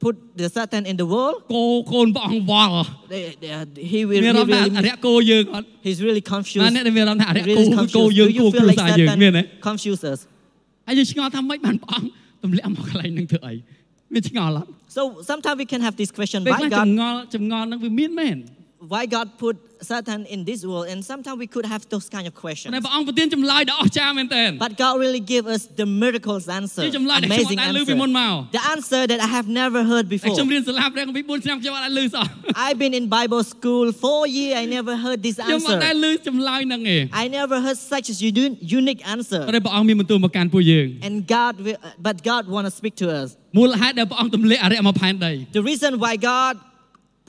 Put the Satan in the world. គោកូនព្រះអង្គវល់ They, they, uh, he will. មាន He អារម្មណ៍ថាអ really, រិយគោយើងអត់ he's really បាន confused. អ្នកដែលមានអារម្មណ៍ថាអរិយ He គោ really គោ confused. យើងគោ Do you feel គ្រួ like សារយើងមានទេ Satan confused us? ហើយយើងឆ្ងល់ថាម៉េចបានព្រះអង្គទម្លាក់មកកន្លែងនឹងធ្វើអីវាឆ្ងល់អត់ So sometimes we can have this question. ពេល Why ខ្លះ God ចម្ងល់ចម្ងល់នឹងវាមានមែន why God put Satan in this world, and sometimes we could have those kind of តែ questions. ព្រះអង្គប្រទានចម្លើយដ៏អស្ចារ្យមែនទែន But God really gave us the miracles answer, ជាចម្លើយដែលខ្ញុំអត់ amazing ដែលឮ answer, ពីមុនមក the answer that I have never heard តែ before. ខ្ញុំរៀនសាលាព្រះគម្ពីរ4ឆ្នាំខ្ញុំអត់ដែលឮសោះ I've been in Bible school four years. I never heard this ខ្ញុំអត់ដែល answer. ឮចម្លើយហ្នឹងឯង I never heard such a uni- unique ប៉ុ answer. ន្តែព្រះអង្គមានបន្ទូលមកកាន់ពួកយើង And God, will, but God want to speak to us. មូលហេតុដែលព្រះអង្គទម្លាក់អរិយមកផែនដី The reason why God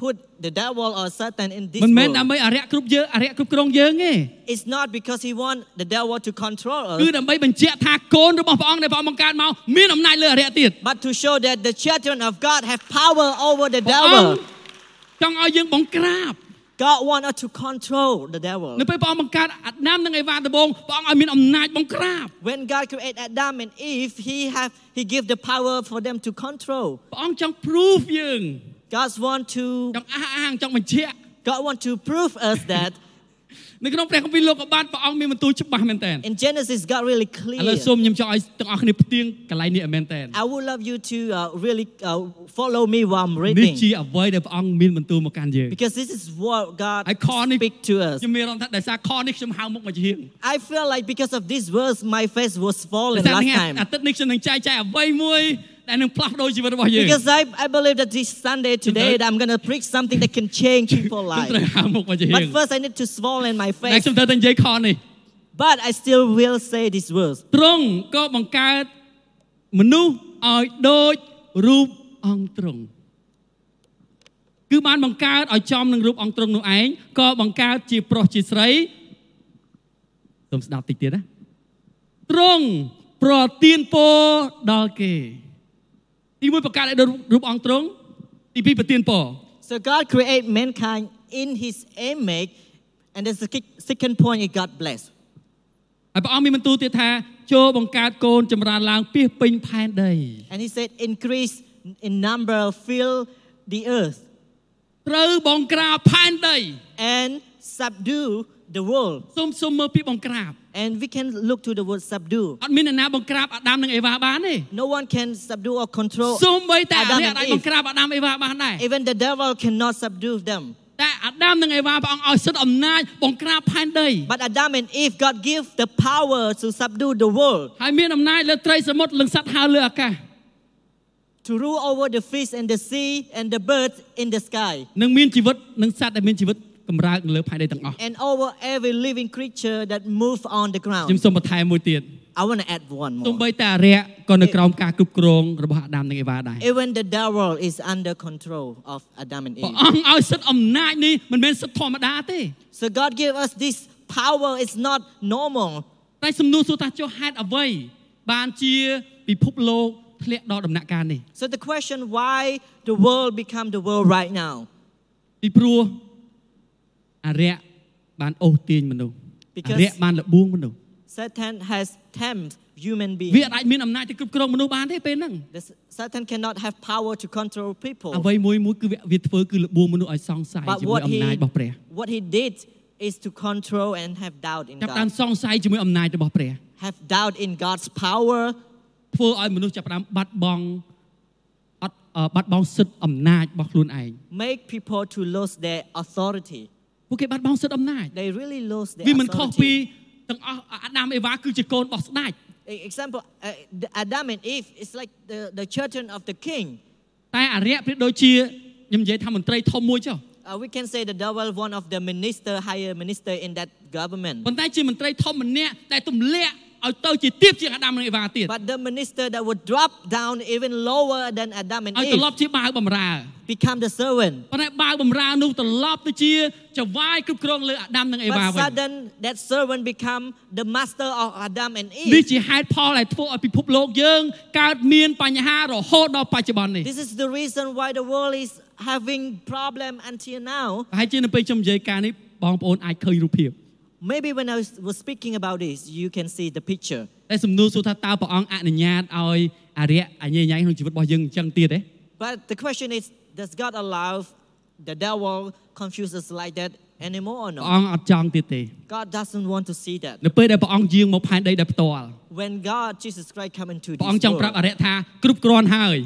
put the devil or Satan in this មិនមែនដើ world ដើម្បីអរិយគ្រប់យើងអរិយគ្រប់គ្រងយើងទេ is not because He want the devil to control គឺ us, ដើម្បីបញ្ជាក់ថាកូនរបស់ព្រះអង្គដែលព្រះអង្គបង្កើតមកមានអំណាចលើអរិយទៀត but to show that the children of God have power over the ព្រះអង្គ devil. ចង់ឲ្យយើងបង្ក្រាប God want us to control the devil. នៅពេលព្រះអង្គបង្កើតអាដាមនិងអេវ៉ាដំបូងព្រះអង្គឲ្យមានអំណាចបង្ក្រាប When God created Adam and Eve, He have He give the power for them to control. ព្រះអង្គចង់ proof យើង God want to ចង់អះអាងចង់បញ្ជាក់ God want to prove us that នៅក្នុងព្រះគម្ពីរលោកក៏បានព្រះអង្គមានបន្ទូលច្បាស់មែនតើ In Genesis, God really ឥឡូវ clear. សូមខ្ញុំចង់ឲ្យទាំងអស់គ្នាផ្ទៀងកន្លែងនេះឲ្យមែនតើ I would love you to uh, really uh, follow me while I'm នេះ reading. ជាអ្វីដែលព្រះអង្គមានបន្ទូលមកកាន់យើង Because this is what God ហើយខនេះ speak to us. ខ្ញុំមានអារម្មណ៍ថាដោយសារខនេះខ្ញុំហៅមុខមកជាហៀង I feel like because of this verse, my face was fallen តែ last ថ្ងៃ time. អាទិត្យនេះខ្ញុំនឹងចែកចែកអ្វីមួយដែលនឹងផ្លាស់ប្ដូរជីវិតរបស់យើង Because I, I believe that this Sunday today that I'm going to preach something that can change people's ខ្ញុំត្រូវ lives. ហៅមុខមកជាហៀង But first, I need to swollen my តែ face. ខ្ញុំត្រូវតែនិយាយខនេះ But I still will say this verse. ទ្រង់ក៏បង្កើតមនុស្សឲ្យដូចរូបអង្គទ្រង់គឺបានបង្កើតឲ្យចំនឹងរូបអង្គទ្រង់នោះឯងក៏បង្កើតជាប្រុសជាស្រីសូមស្ដាប់តិចទៀតណាទ្រង់ប្រទានពរដល់គេទីមួយបង្កើតឲ្យដូចរូបអង្គទ្រង់ទីពីរប្រទានពរ So God created mankind in his image. And there's the kick- second point is God bless. ហើយព្រះអង្គមានបន្ទូលទៀតថាចូលបង្កើតកូនចម្រើនឡើងពាសពេញផែនដី And he said, increase in number, fill the earth, ត្រូវបងក្រាបផែនដី and subdue the world. សូមសូមមើលពាក្យបង្ក្រាប And we can look to the word subdue. អត់មានអ្នកណាបង្ក្រាបអាដាមនិងអេវ៉ាបានទេ No one can subdue or control. សូម្បីតែអា Adam អ្នក and អាច Eve. បង្ក្រាបអាដាមអេវ៉ាបានដែរ Even the devil cannot subdue them. តែអាដាមនិងអេវ៉ាព្រះអង្គឲ្យសិទ្ធិអំណាចបង្ក្រាបផែនដី But Adam and Eve, God gave the power to subdue the world, ហើយមានអំណាចលើត្រីសមុទ្រនិងសត្វហើរលើអាកាស to rule over the fish and the sea and the birds in the sky, និងមានជីវិតនិងសត្វដែលមានជីវិតកម្រើកនៅលើផែនដីទាំងអស់ and over every living creature that move on the ខ្ញុំ ground. សូមបន្ថែមមួយទៀត I want to add one ទោះបី more. តែអារយៈក៏នៅក្រោមការគ្រប់គ្រងរបស់អាដាមនិងអេវ៉ាដែរ Even the devil is under control of Adam and ព្រះ Eve. អង្គឲ្យសិទ្ធិអំណាចនេះមិនមែនសិទ្ធិធម្មតាទេ So God gave us this power. It's not normal. តែសំណួរសួរថាចុះហេតុអ្វី បានជាពិភពលោកធ្លាក់ដល់ដំណាក់កាលនេះ So the question why the world become the world right now? ពីព្រោះអរិយបានអូសទាញមនុស្សអ Because- រិយបានលបួងមនុស្ស Satan has tempted human វា beings. អាចមានអំណាចទៅគ្រប់គ្រងមនុស្សបានទេពេលហ្នឹង The s- Satan cannot have power to control អ្ people. វីមួយមួយគឺវាវាធ្វើគឺលបួងមនុស្សឲ្យសង្ស័យ But ជាមួយ what អំណាច he, របស់ព្រះ what he did is to control and have doubt in ចាប់ផ្ដើម God. សង្ស័យជាមួយអំណាចរបស់ព្រះ Have doubt in God's power ធ្វើឲ្យមនុស្សចាប់ផ្ដើមបាត់បង់អត់អឺបាត់បង់សិទ្ធិអំណាចរបស់ខ្លួនឯង make people to lose their authority. ពួកគេបាត់បង់សិទ្ធិអំណាច They really lose their វាមិនខុសពី authority. ទាំងអស់អាដាមអេវ៉ាគឺជាកូនរបស់ស្ដេច E- Example, uh, the Adam and Eve is like the, the children of the king. តែអរិយប្រៀបដូចជាខ្ញុំនិយាយថាមន្ត្រីធំមួយចុះ Uh, we can say the devil, one of the minister, higher minister in that government. ប៉ុន្តែជាមន្ត្រីធំម្នាក់ដែលទម្លាក់ឲ្យទៅជាទៀបជាងអាដាមនិងអេវ៉ាទៀត But the minister that would drop down even lower than Adam and ឲ្យត្រឡប់ Eve ជាបាវបំរើ become the servant. ប៉ុន្តែបាវបំរើនោះត្រឡប់ទៅជាចវាយគ្រប់គ្រងលើអាដាមនិងអេវ៉ា But វិញ sudden that servant become the master of Adam and នេះ Eve. ជាហេតុផលដែលធ្វើឲ្យពិភពលោកយើងកើតមានបញ្ហារហូតដល់បច្ចុប្បន្ននេះ This is the reason why the world is having problem until now. ប្រហែលជានៅពេលខ្ញុំនិយាយការនេះបងប្អូនអាចឃើញរូបភាព Maybe when I was was speaking about this, you can see the picture. តែសំណួរសួរថាតើព្រះអង្គអនុញ្ញាតឲ្យអរិយអញ្ញេញ៉ៃក្នុងជីវិតរបស់យើងអញ្ចឹងទៀតទេ But the question is, does God allow the devil confuse us like that anymore or ព្រះ not? អង្គអត់ចង់ទៀតទេ God doesn't want to see that. នៅពេលដែលព្រះអង្គយាងមកផែនដីដែលផ្ទាល់ When God, Jesus Christ, come into ព្រះអង្គច this ង់ប្រាប់អ world, រិយថាគ្រប់គ្រាន់ហើយ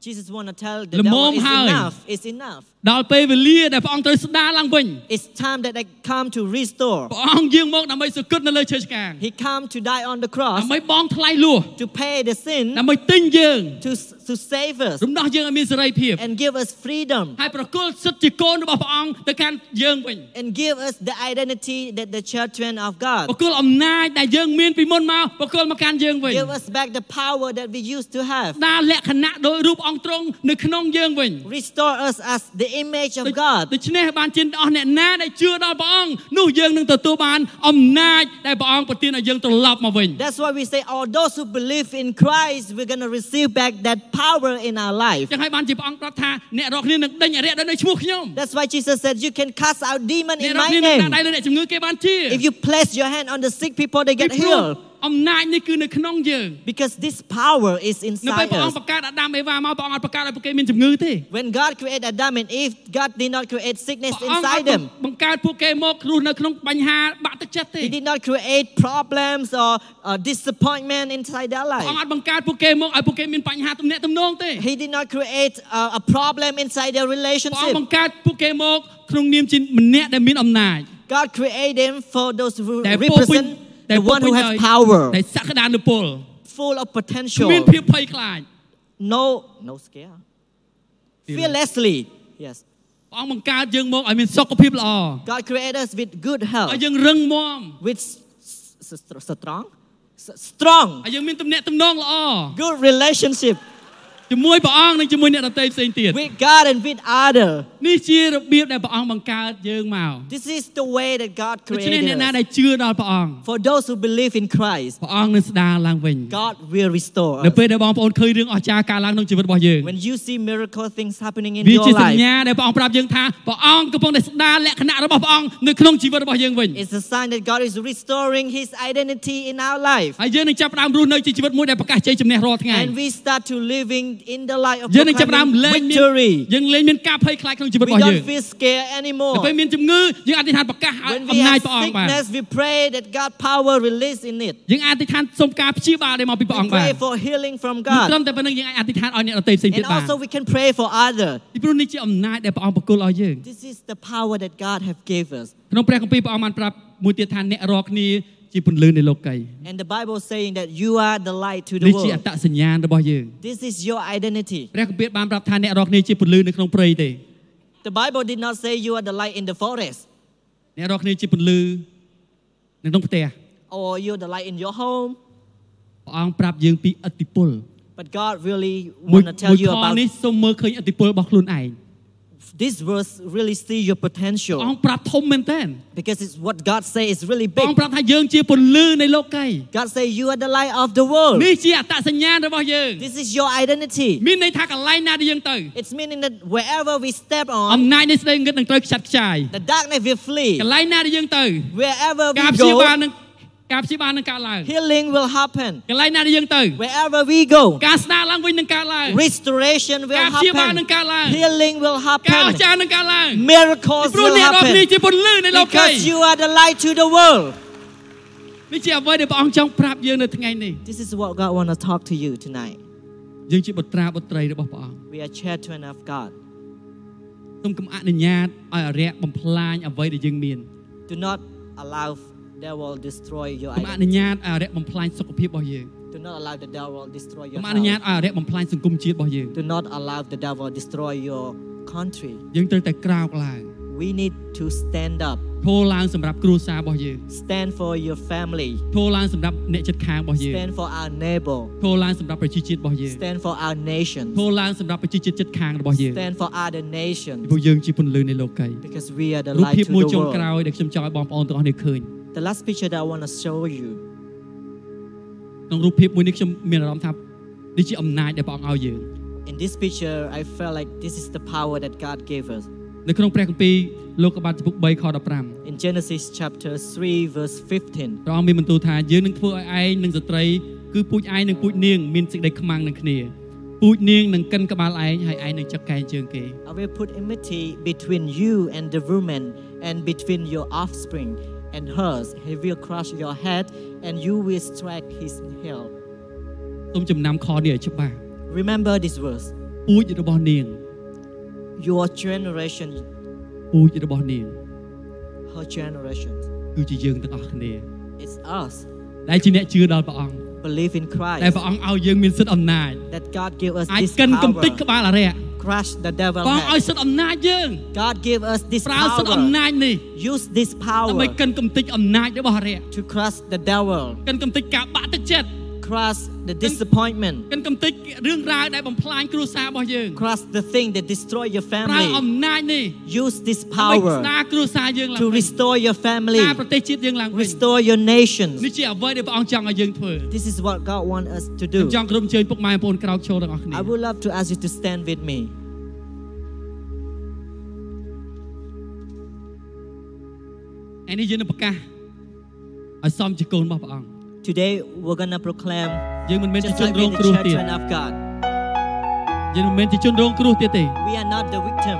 Jesus want to tell the Lầm devil, mồm it's hơi. enough, it's enough. ដល់ពេលវេលាដែលព្រះអង្គត្រូវស្ដារឡើងវិញ It's time that I come to restore. ព្រះអង្គយាងមកដើម្បីសគត់នៅលើឈើឆ្កាង He come to die on the cross ដើម្បីបងថ្លៃលួស to pay the sin, ដើម្បីទិញយើង to, to save us រំដោះយើងឲ្យមានសេរីភាព and give us freedom ហើយប្រគល់សិទ្ធិជាកូនរបស់ព្រះអង្គទៅកាន់យើងវិញ and give us the identity that the children of God. ប្រគល់អំណាចដែលយើងមានពីមុនមកប្រគល់មកកាន់យើងវិញ Give us back the power that we used to have. ស្ដារលក្ខណៈដោយរូបអង្គទ្រង់នៅក្នុងយើងវិញ Restore us as the image of God. ដូច្នេះបានជាអស់អ្នកណាដែលជឿដល់ព្រះអង្គនោះយើងនឹងទទួលបានអំណាចដែលព្រះអង្គប្រទានឲ្យយើងត្រឡប់មកវិញ That's why we say, all those who believe in Christ, we're going to receive back that power in our life. ចឹងហើយបានជាព្រះអង្គប្រាប់ថាអ្នករកគ្នានឹងដេញអរិយដែលនៅឈ្មោះខ្ញុំ That's why Jesus said, you can cast out demon អ្នក in រក my គ្នានឹងដាក់ដៃ name. លើអ្នកជំងឺគេបានជា If you place your hand on the sick people, they get ពីព្រោះ healed. អំណាចនេះគឺនៅក្នុងយើង Because this power is នៅពេល inside ព្រះអ us. ង្គបង្កើតអាដាមអេវ៉ាមកព្រះអង្គអត់បង្កើតឲ្យពួកគេមានជំងឺទេ When God created Adam and Eve, God did not create sickness ព្រះអង្គអ inside ត់ them. បង្កើតពួកគេមកគ្រោះនៅក្នុងបញ្ហាបាក់ទឹកចិត្តទេ He did not create problems or, or disappointment inside their ព្រះអង្គអ life. ត់បង្កើតពួកគេមកឲ្យពួកគេមានបញ្ហាទំនាក់ទំនងទេ He did not create uh, a problem inside their ព្រះអង្គ relationship. បង្កើតពួកគេមកក្នុងនាមជាម្នាក់ដែលមានអំណាច God created them for those who តែពោរពេញ represent តែ the ពោរ one ពេញ who ដោយ has power, តែសក្តានុពល full of គ្មាន potential. ភាពភ័យខ្លាច No, no scare. Fearlessly. Yes. ព្រះអង្គបង្កើតយើងមកឲ្យមានសុខភាពល្អ God created us with good ឲ្យ health, យើងរឹងមាំ with s- s- s- strong, s- strong, ឲ្យយើងមានទំនាក់ទំនងល្អ good relationship ជាមួយព្រះអង្គនិងជាមួយអ្នកដទៃផ្សេងទៀត with God and with other. នេះជារបៀបដែលព្រះអង្គបង្កើតយើងមក This is the way that God ដូច្នេះ created អ្នកណា us. ដែលជឿដល់ព្រះអង្គ For those who believe in Christ, ព្រះអង្គនឹងស្ដារឡើងវិញ God will restore នៅពេល us. ដែលបងប្អូនឃើញរឿងអស្ចារ្យកើតឡើងក្នុងជីវិតរបស់យើង When you see miracle things happening in វា your ជាស life, ញ្ញាដែលព្រះអង្គប្រាប់យើងថាព្រះអង្គកំពុងតែស្ដារលក្ខណៈរបស់ព្រះអង្គនៅក្នុងជីវិតរបស់យើងវិញ it's a sign that God is restoring His identity in our life. ហើយយើងនឹងចាប់ផ្ដើមរស់នៅជាជីវិតមួយដែលប្រកាសជ័យជំនះរាល់ថ្ងៃ And we start to living in the light of យើងនឹងចាប់ផ្ដើម proclaiming លែងមាន victory. យើងលែងមានការភ័យខ្លាចក្នុងជីវិត We របស់យើង don't feel scared នៅ anymore. ពេលមានជំងឺយើងអធិដ្ឋានប្រកាសឲ្យ When អំ we ណាច have ព្រះអង្គបាន sickness, we pray that God power release in it. យើងអធិដ្ឋានសូមការព្យាបាលដែលមកពីព្រះអ We ង្គបាន pray for healing from មិនត្រឹ God. មតែប៉ុណ្្នឹងយើងអាចអធិដ្ឋានឲ្យអ្នកដទៃផ្សេងទៀត And បាន also we can pray for others. ពីព្រោះនេះជាអំណាចដែលព្រះអង្គប្រគល់ឲ្យយើង This is the power that God have gave us. ក្នុងព្រះគម្ពីរព្រះអង្គបានប្រាប់មួយទៀតថាអ្នករាល់គ្នាជាពន្លឺនៃលោកី And the Bible is saying that you are the light to នេះ the ជាអ world. ត្តសញ្ញាណរបស់យើង This is your identity. ព្រះគម្ពីរបានប្រាប់ថាអ្នករាល់គ្នាជាពន្លឺនៅក្នុងព្រៃទេ The Bible did not say you are the light in the forest អ្នករាល់គ្នាជាពន្លឺនៅក្នុងផ្ទះ or you're the light in your home, ព្រះអង្គប្រាប់យើងពីអតិពល but God really មួយ want to tell មួយ you ខ about នេះសូមមើលឃើញអតិពលរបស់ខ្លួនឯង this verse really see your ព្រះអ potential ង្គប្រាប់ធំមែនតើ because it's what God say is really ព្រះអង្គ big. ប្រាប់ថាយើងជាពន្លឺនៃលោកី God say you are the light of the world. នេះជាអត្តសញ្ញាណរបស់យើង This is your identity. មានន័យថាកន្លែងណាដែលយើងទៅ It's meaning that wherever we step អំ on, ណាចនៃស្ដីងឹតនឹងត្រូវខ្ចាត់ខ្ចាយ the darkness will ក flee. ន្លែងណាដែលយើងទៅ Wherever ការ we ព្យាបាល go, នឹងការព្យាបាលនឹងកើតឡើង healing will happen. កន្លែងណាដែលយើងទៅ Wherever we go, ការស្ដារឡើងវិញនឹងកើតឡើង restoration will ការព្យាបាលនឹង happen. កើតឡើង Healing will ការអ happen. ស្ចារ្យនឹងកើតឡើង Miracles ព្រោះ will អ្នករាល់គ្នា happen. ជាពន្លឺនៃលោកី Because you are the light to the world. នេះជាអ្វីដែលព្រះអង្គចង់ប្រាប់យើងនៅថ្ងៃនេះ This is what God want to talk to you tonight. យើងជាបុត្រាបុត្រីរបស់ព្រះអង្គ We are children of God. សូមកុំអនុញ្ញាតឲ្យអរិយបំផ្លាញអ្វីដែលយើងមាន Do not allow that will destroy your កុំអនុ identity. ញ្ញាតឲ្យអរិយបំផ្លាញសុខភាពរបស់យើង Do not allow the devil destroy your កុំអនុញ្ញាត health. ឲ្យអរិយបំផ្លាញសង្គមជាតិរបស់យើង Do not allow the devil destroy your country. យើងត្រូវតែក្រោកឡើង We need to stand up. ធូរឡើងសម្រាប់គ្រួសាររបស់យើង Stand for your family. ធូរឡើងសម្រាប់អ្នកជិតខាងរបស់យើង Stand for our neighbor. ធូរឡើងសម្រាប់ប្រជាជាតិរបស់យើង Stand for our ធូ nation. រឡើងសម្រាប់ប្រជាជាតិជិតខាងរបស់យើង Stand for other ពី nations. ព្រោះយើងជាពន្លឺនៃលោកី Because we are the រូប light ភាព to មួយចុ the ង world. ក្រោយដែលខ្ញុំចង់ឲ្យបងប្អូនទាំងអស់នេះឃើញ The last picture that I want to show you. ក្នុងរូបភាពមួយនេះខ្ញុំមានអារម្មណ៍ថានេះជាអំណាចដែលព្រះអង្គឲ្យយើង In this picture, I felt like this is the power that God gave us. នៅក្នុងព្រះគម្ពីរលោកុបាទជំពូក3ខ15 In Genesis chapter 3, verse 15, ព្រះអង្គមានបន្ទូលថាយើងនឹងធ្វើឲ្យឯងនិងស្ត្រីគឺពូជឯងនិងពូជនាងមានសេចក្តីខ្មាំងនឹងគ្នាពូជនាងនឹងកិនក្បាលឯងហើយឯងនឹងចឹកកែងជើងគេ I will put enmity between you and the woman, and between your offspring and hers. He will crush your head, and you will strike his heel. សូមចំណាំខនេះឲ្យច្បាស់ Remember this verse. ពូជរបស់នាង Your generation, ពូជរបស់នាង her generation, គឺជាយើងទាំងអស់គ្នា it's us. ដែលជាអ្នកជឿដល់ព្រះអង្គ Believe in ដែល Christ. ព្រះអង្គឲ្យយើងមានសិទ្ធិអំណាច That God give us អាច this កិនកំ power. ទេចក្បាលអរិយ Crush the ព្រះ devil អង្គឲ្យ head. សិទ្ធិអំណាចយើង God give us this ប្រើសិទ្ធិអំ power. ណាចនេះ Use this ដើម្បី power កិនកំទេចអំណាចរបស់អរិយ to crush the devil. កិនកំទេចការបាក់ទឹកចិត្ត Crush the disappointment. កិនកំទេចរឿងរ៉ាវដែលបំផ្លាញគ្រួសាររបស់យើង Crush the thing that destroy your ប្រើអំ family. ណាចនេះ Use this ដើម្បីស្ power ដារគ្រួសារយើងឡើង to វិញ restore your ស្ family. ដារប្រទេសជាតិយើងឡើងវិញ Restore your នេះ nations. ជាអ្វីដែលព្រះអង្គចង់ឲ្យយើងធ្វើ This is what God want us to do. ចង់ក្រុមជើញពុកម៉ែបងប្អូនក្រោកឈរទាំងអស់គ្នា I would love to ask you to stand with me. ឯនេះយើងនឹងប្រកាសឲ្យសមជាកូនរបស់ព្រះអង្គ Today, we're going to proclaim យើងមិនមែនជា just ជន like រ we're ង the គ្រោះទៀត children of God. យើងមិនមែនជាជនរងគ្រោះទៀតទេ We are not the victim,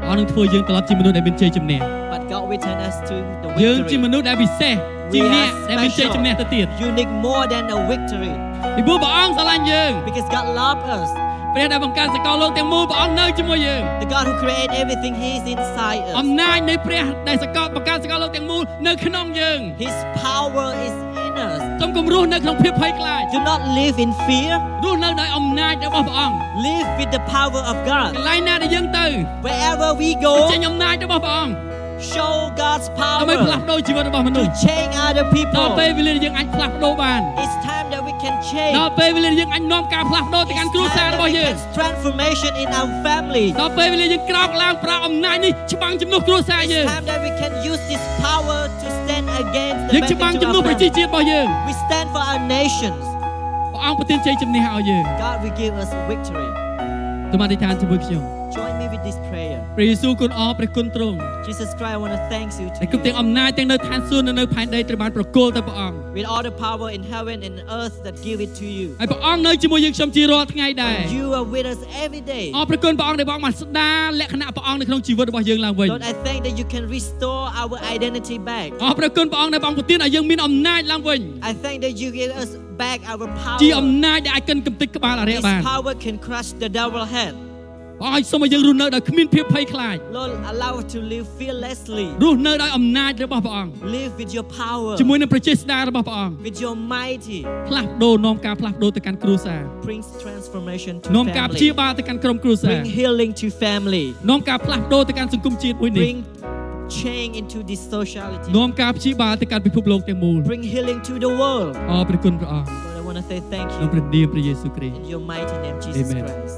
ព្រះអង្គនឹងធ្វើយើងត្រឡប់ជាមនុស្សដែលមានជ័យជំនះ but God will turn us to the យើងជាមនុ victory. ស្សដែលពិសេសជាអ្នកដែលមានជ័យជំនះទៅទៀត Unique more than a victory ពីព្រោះព្រះអង្គស្រឡាញ់យើង because God loves us. ព្រះដែលបង្កើតសកលលោកទាំងមូលព្រះអង្គនៅជាមួយយើង The God who created everything, He is inside អំ us. ណាចនៃព្រះដែលសកលបង្កើតសកលលោកទាំងមូលនៅក្នុងយើង His power is in us. សូមគំរស់នៅក្នុងភាពភ័យខ្លាច Do not live in fear, រស់នៅដោយអំណាចរបស់ព្រះអង្គ live with the power of ក God. ន្លែងណាដែលយើងទៅ Wherever we ចេញ go, អំណាចរបស់ព្រះអង្គ show God's ដើម្បីផ្លាស់ power ប្ដូរជីវិតរបស់មនុស្ស to change other ដល់ people. ពេលវេលាដែលយើងអាចផ្លាស់ប្ដូរបាន It's time that we can ដល់ change. ពេលវេលាដែលយើងអាចនាំការផ្លាស់ប្ដូរទៅ It's កាន់ time គ្រួសាររ that ប we ស់យើង can transformation in our family. ដល់ពេលវេលាយើងក្រោកឡើងប្រើអំណាចនេះច្បាំងជំនួសគ្រួសារយើង It's time that we can use this power to stand against យើ the ងច្បាំង bad ជំ thing to នួស our ប្រជា family. ជាតិរបស់យើង We stand for our nations. ព្រះអង្គប្រទានជ័យជំនះឲ្យយើង God will give us victory. សូមអធិដ្ឋានជាមួយខ្ញុំ Join me with this prayer. ព្រះយេស៊ូវគុណអរព្រះគុណទ្រង់ Jesus Christ, I want to thank you ដែលគ្រប់ទាំង today. អំណាចទាំងនៅឋានសួគ៌និងនៅផែនដីត្រូវបានប្រគល់ទៅព្រះអង្គ With all the power in heaven and earth that give it to you. ហើយព្រះអង្គនៅជាមួយយើងខ្ញុំជារាល់ថ្ងៃដែរ You are with us every day. អរព្រះគុណព្រះអង្គដែលព្រះអង្គបានស្ដារលក្ខណៈព្រះអង្គនៅក្នុងជីវិតរបស់យើងឡើងវិញ Lord, I thank that you can restore our identity back. អរព្រះគុណព្រះអង្គដែលព្រះអង្គប្រទានឲ្យយើងមានអំណាចឡើងវិញ I thank that you give us back our ជាអំ power. ណាចដែលអាចកិនកំទេចក្បាលអរិយ This បាន power can crush the double head. ព្រះអង្គឲ្យសូមឲ្យយើងរស់នៅដោយគ្មានភាពភ័យខ្លាច Lord, allow us to live fearlessly. រស់នៅដោយអំណាចរបស់ព្រះអង្គ Live with your power, ជាមួយនឹងប្រជាស្ដាររបស់ព្រះអង្គ with your mighty. ផ្លាស់ប្ដូរនាំការផ្លាស់ប្ដូរទៅកាន់គ្រួសារ Brings transformation នាំ to ការព្យា family. បាលទៅកាន់ក្រុមគ្រួសារ Bring healing to family. នាំការផ្លាស់ប្ដូរទៅកាន់សង្គមជាតិមួយនេះ Bring change into this sociality. នាំការព្យាបាលទៅកាន់ពិភពលោកទាំងមូល Bring healing to the world. អរព្រះគុណព្រះអង្គ Lord, I want to say thank ក្នុង you ព្រះនាមព្រះយេស៊ូវគ្រីស្ទ in your mighty name, Jesus Amen. Christ.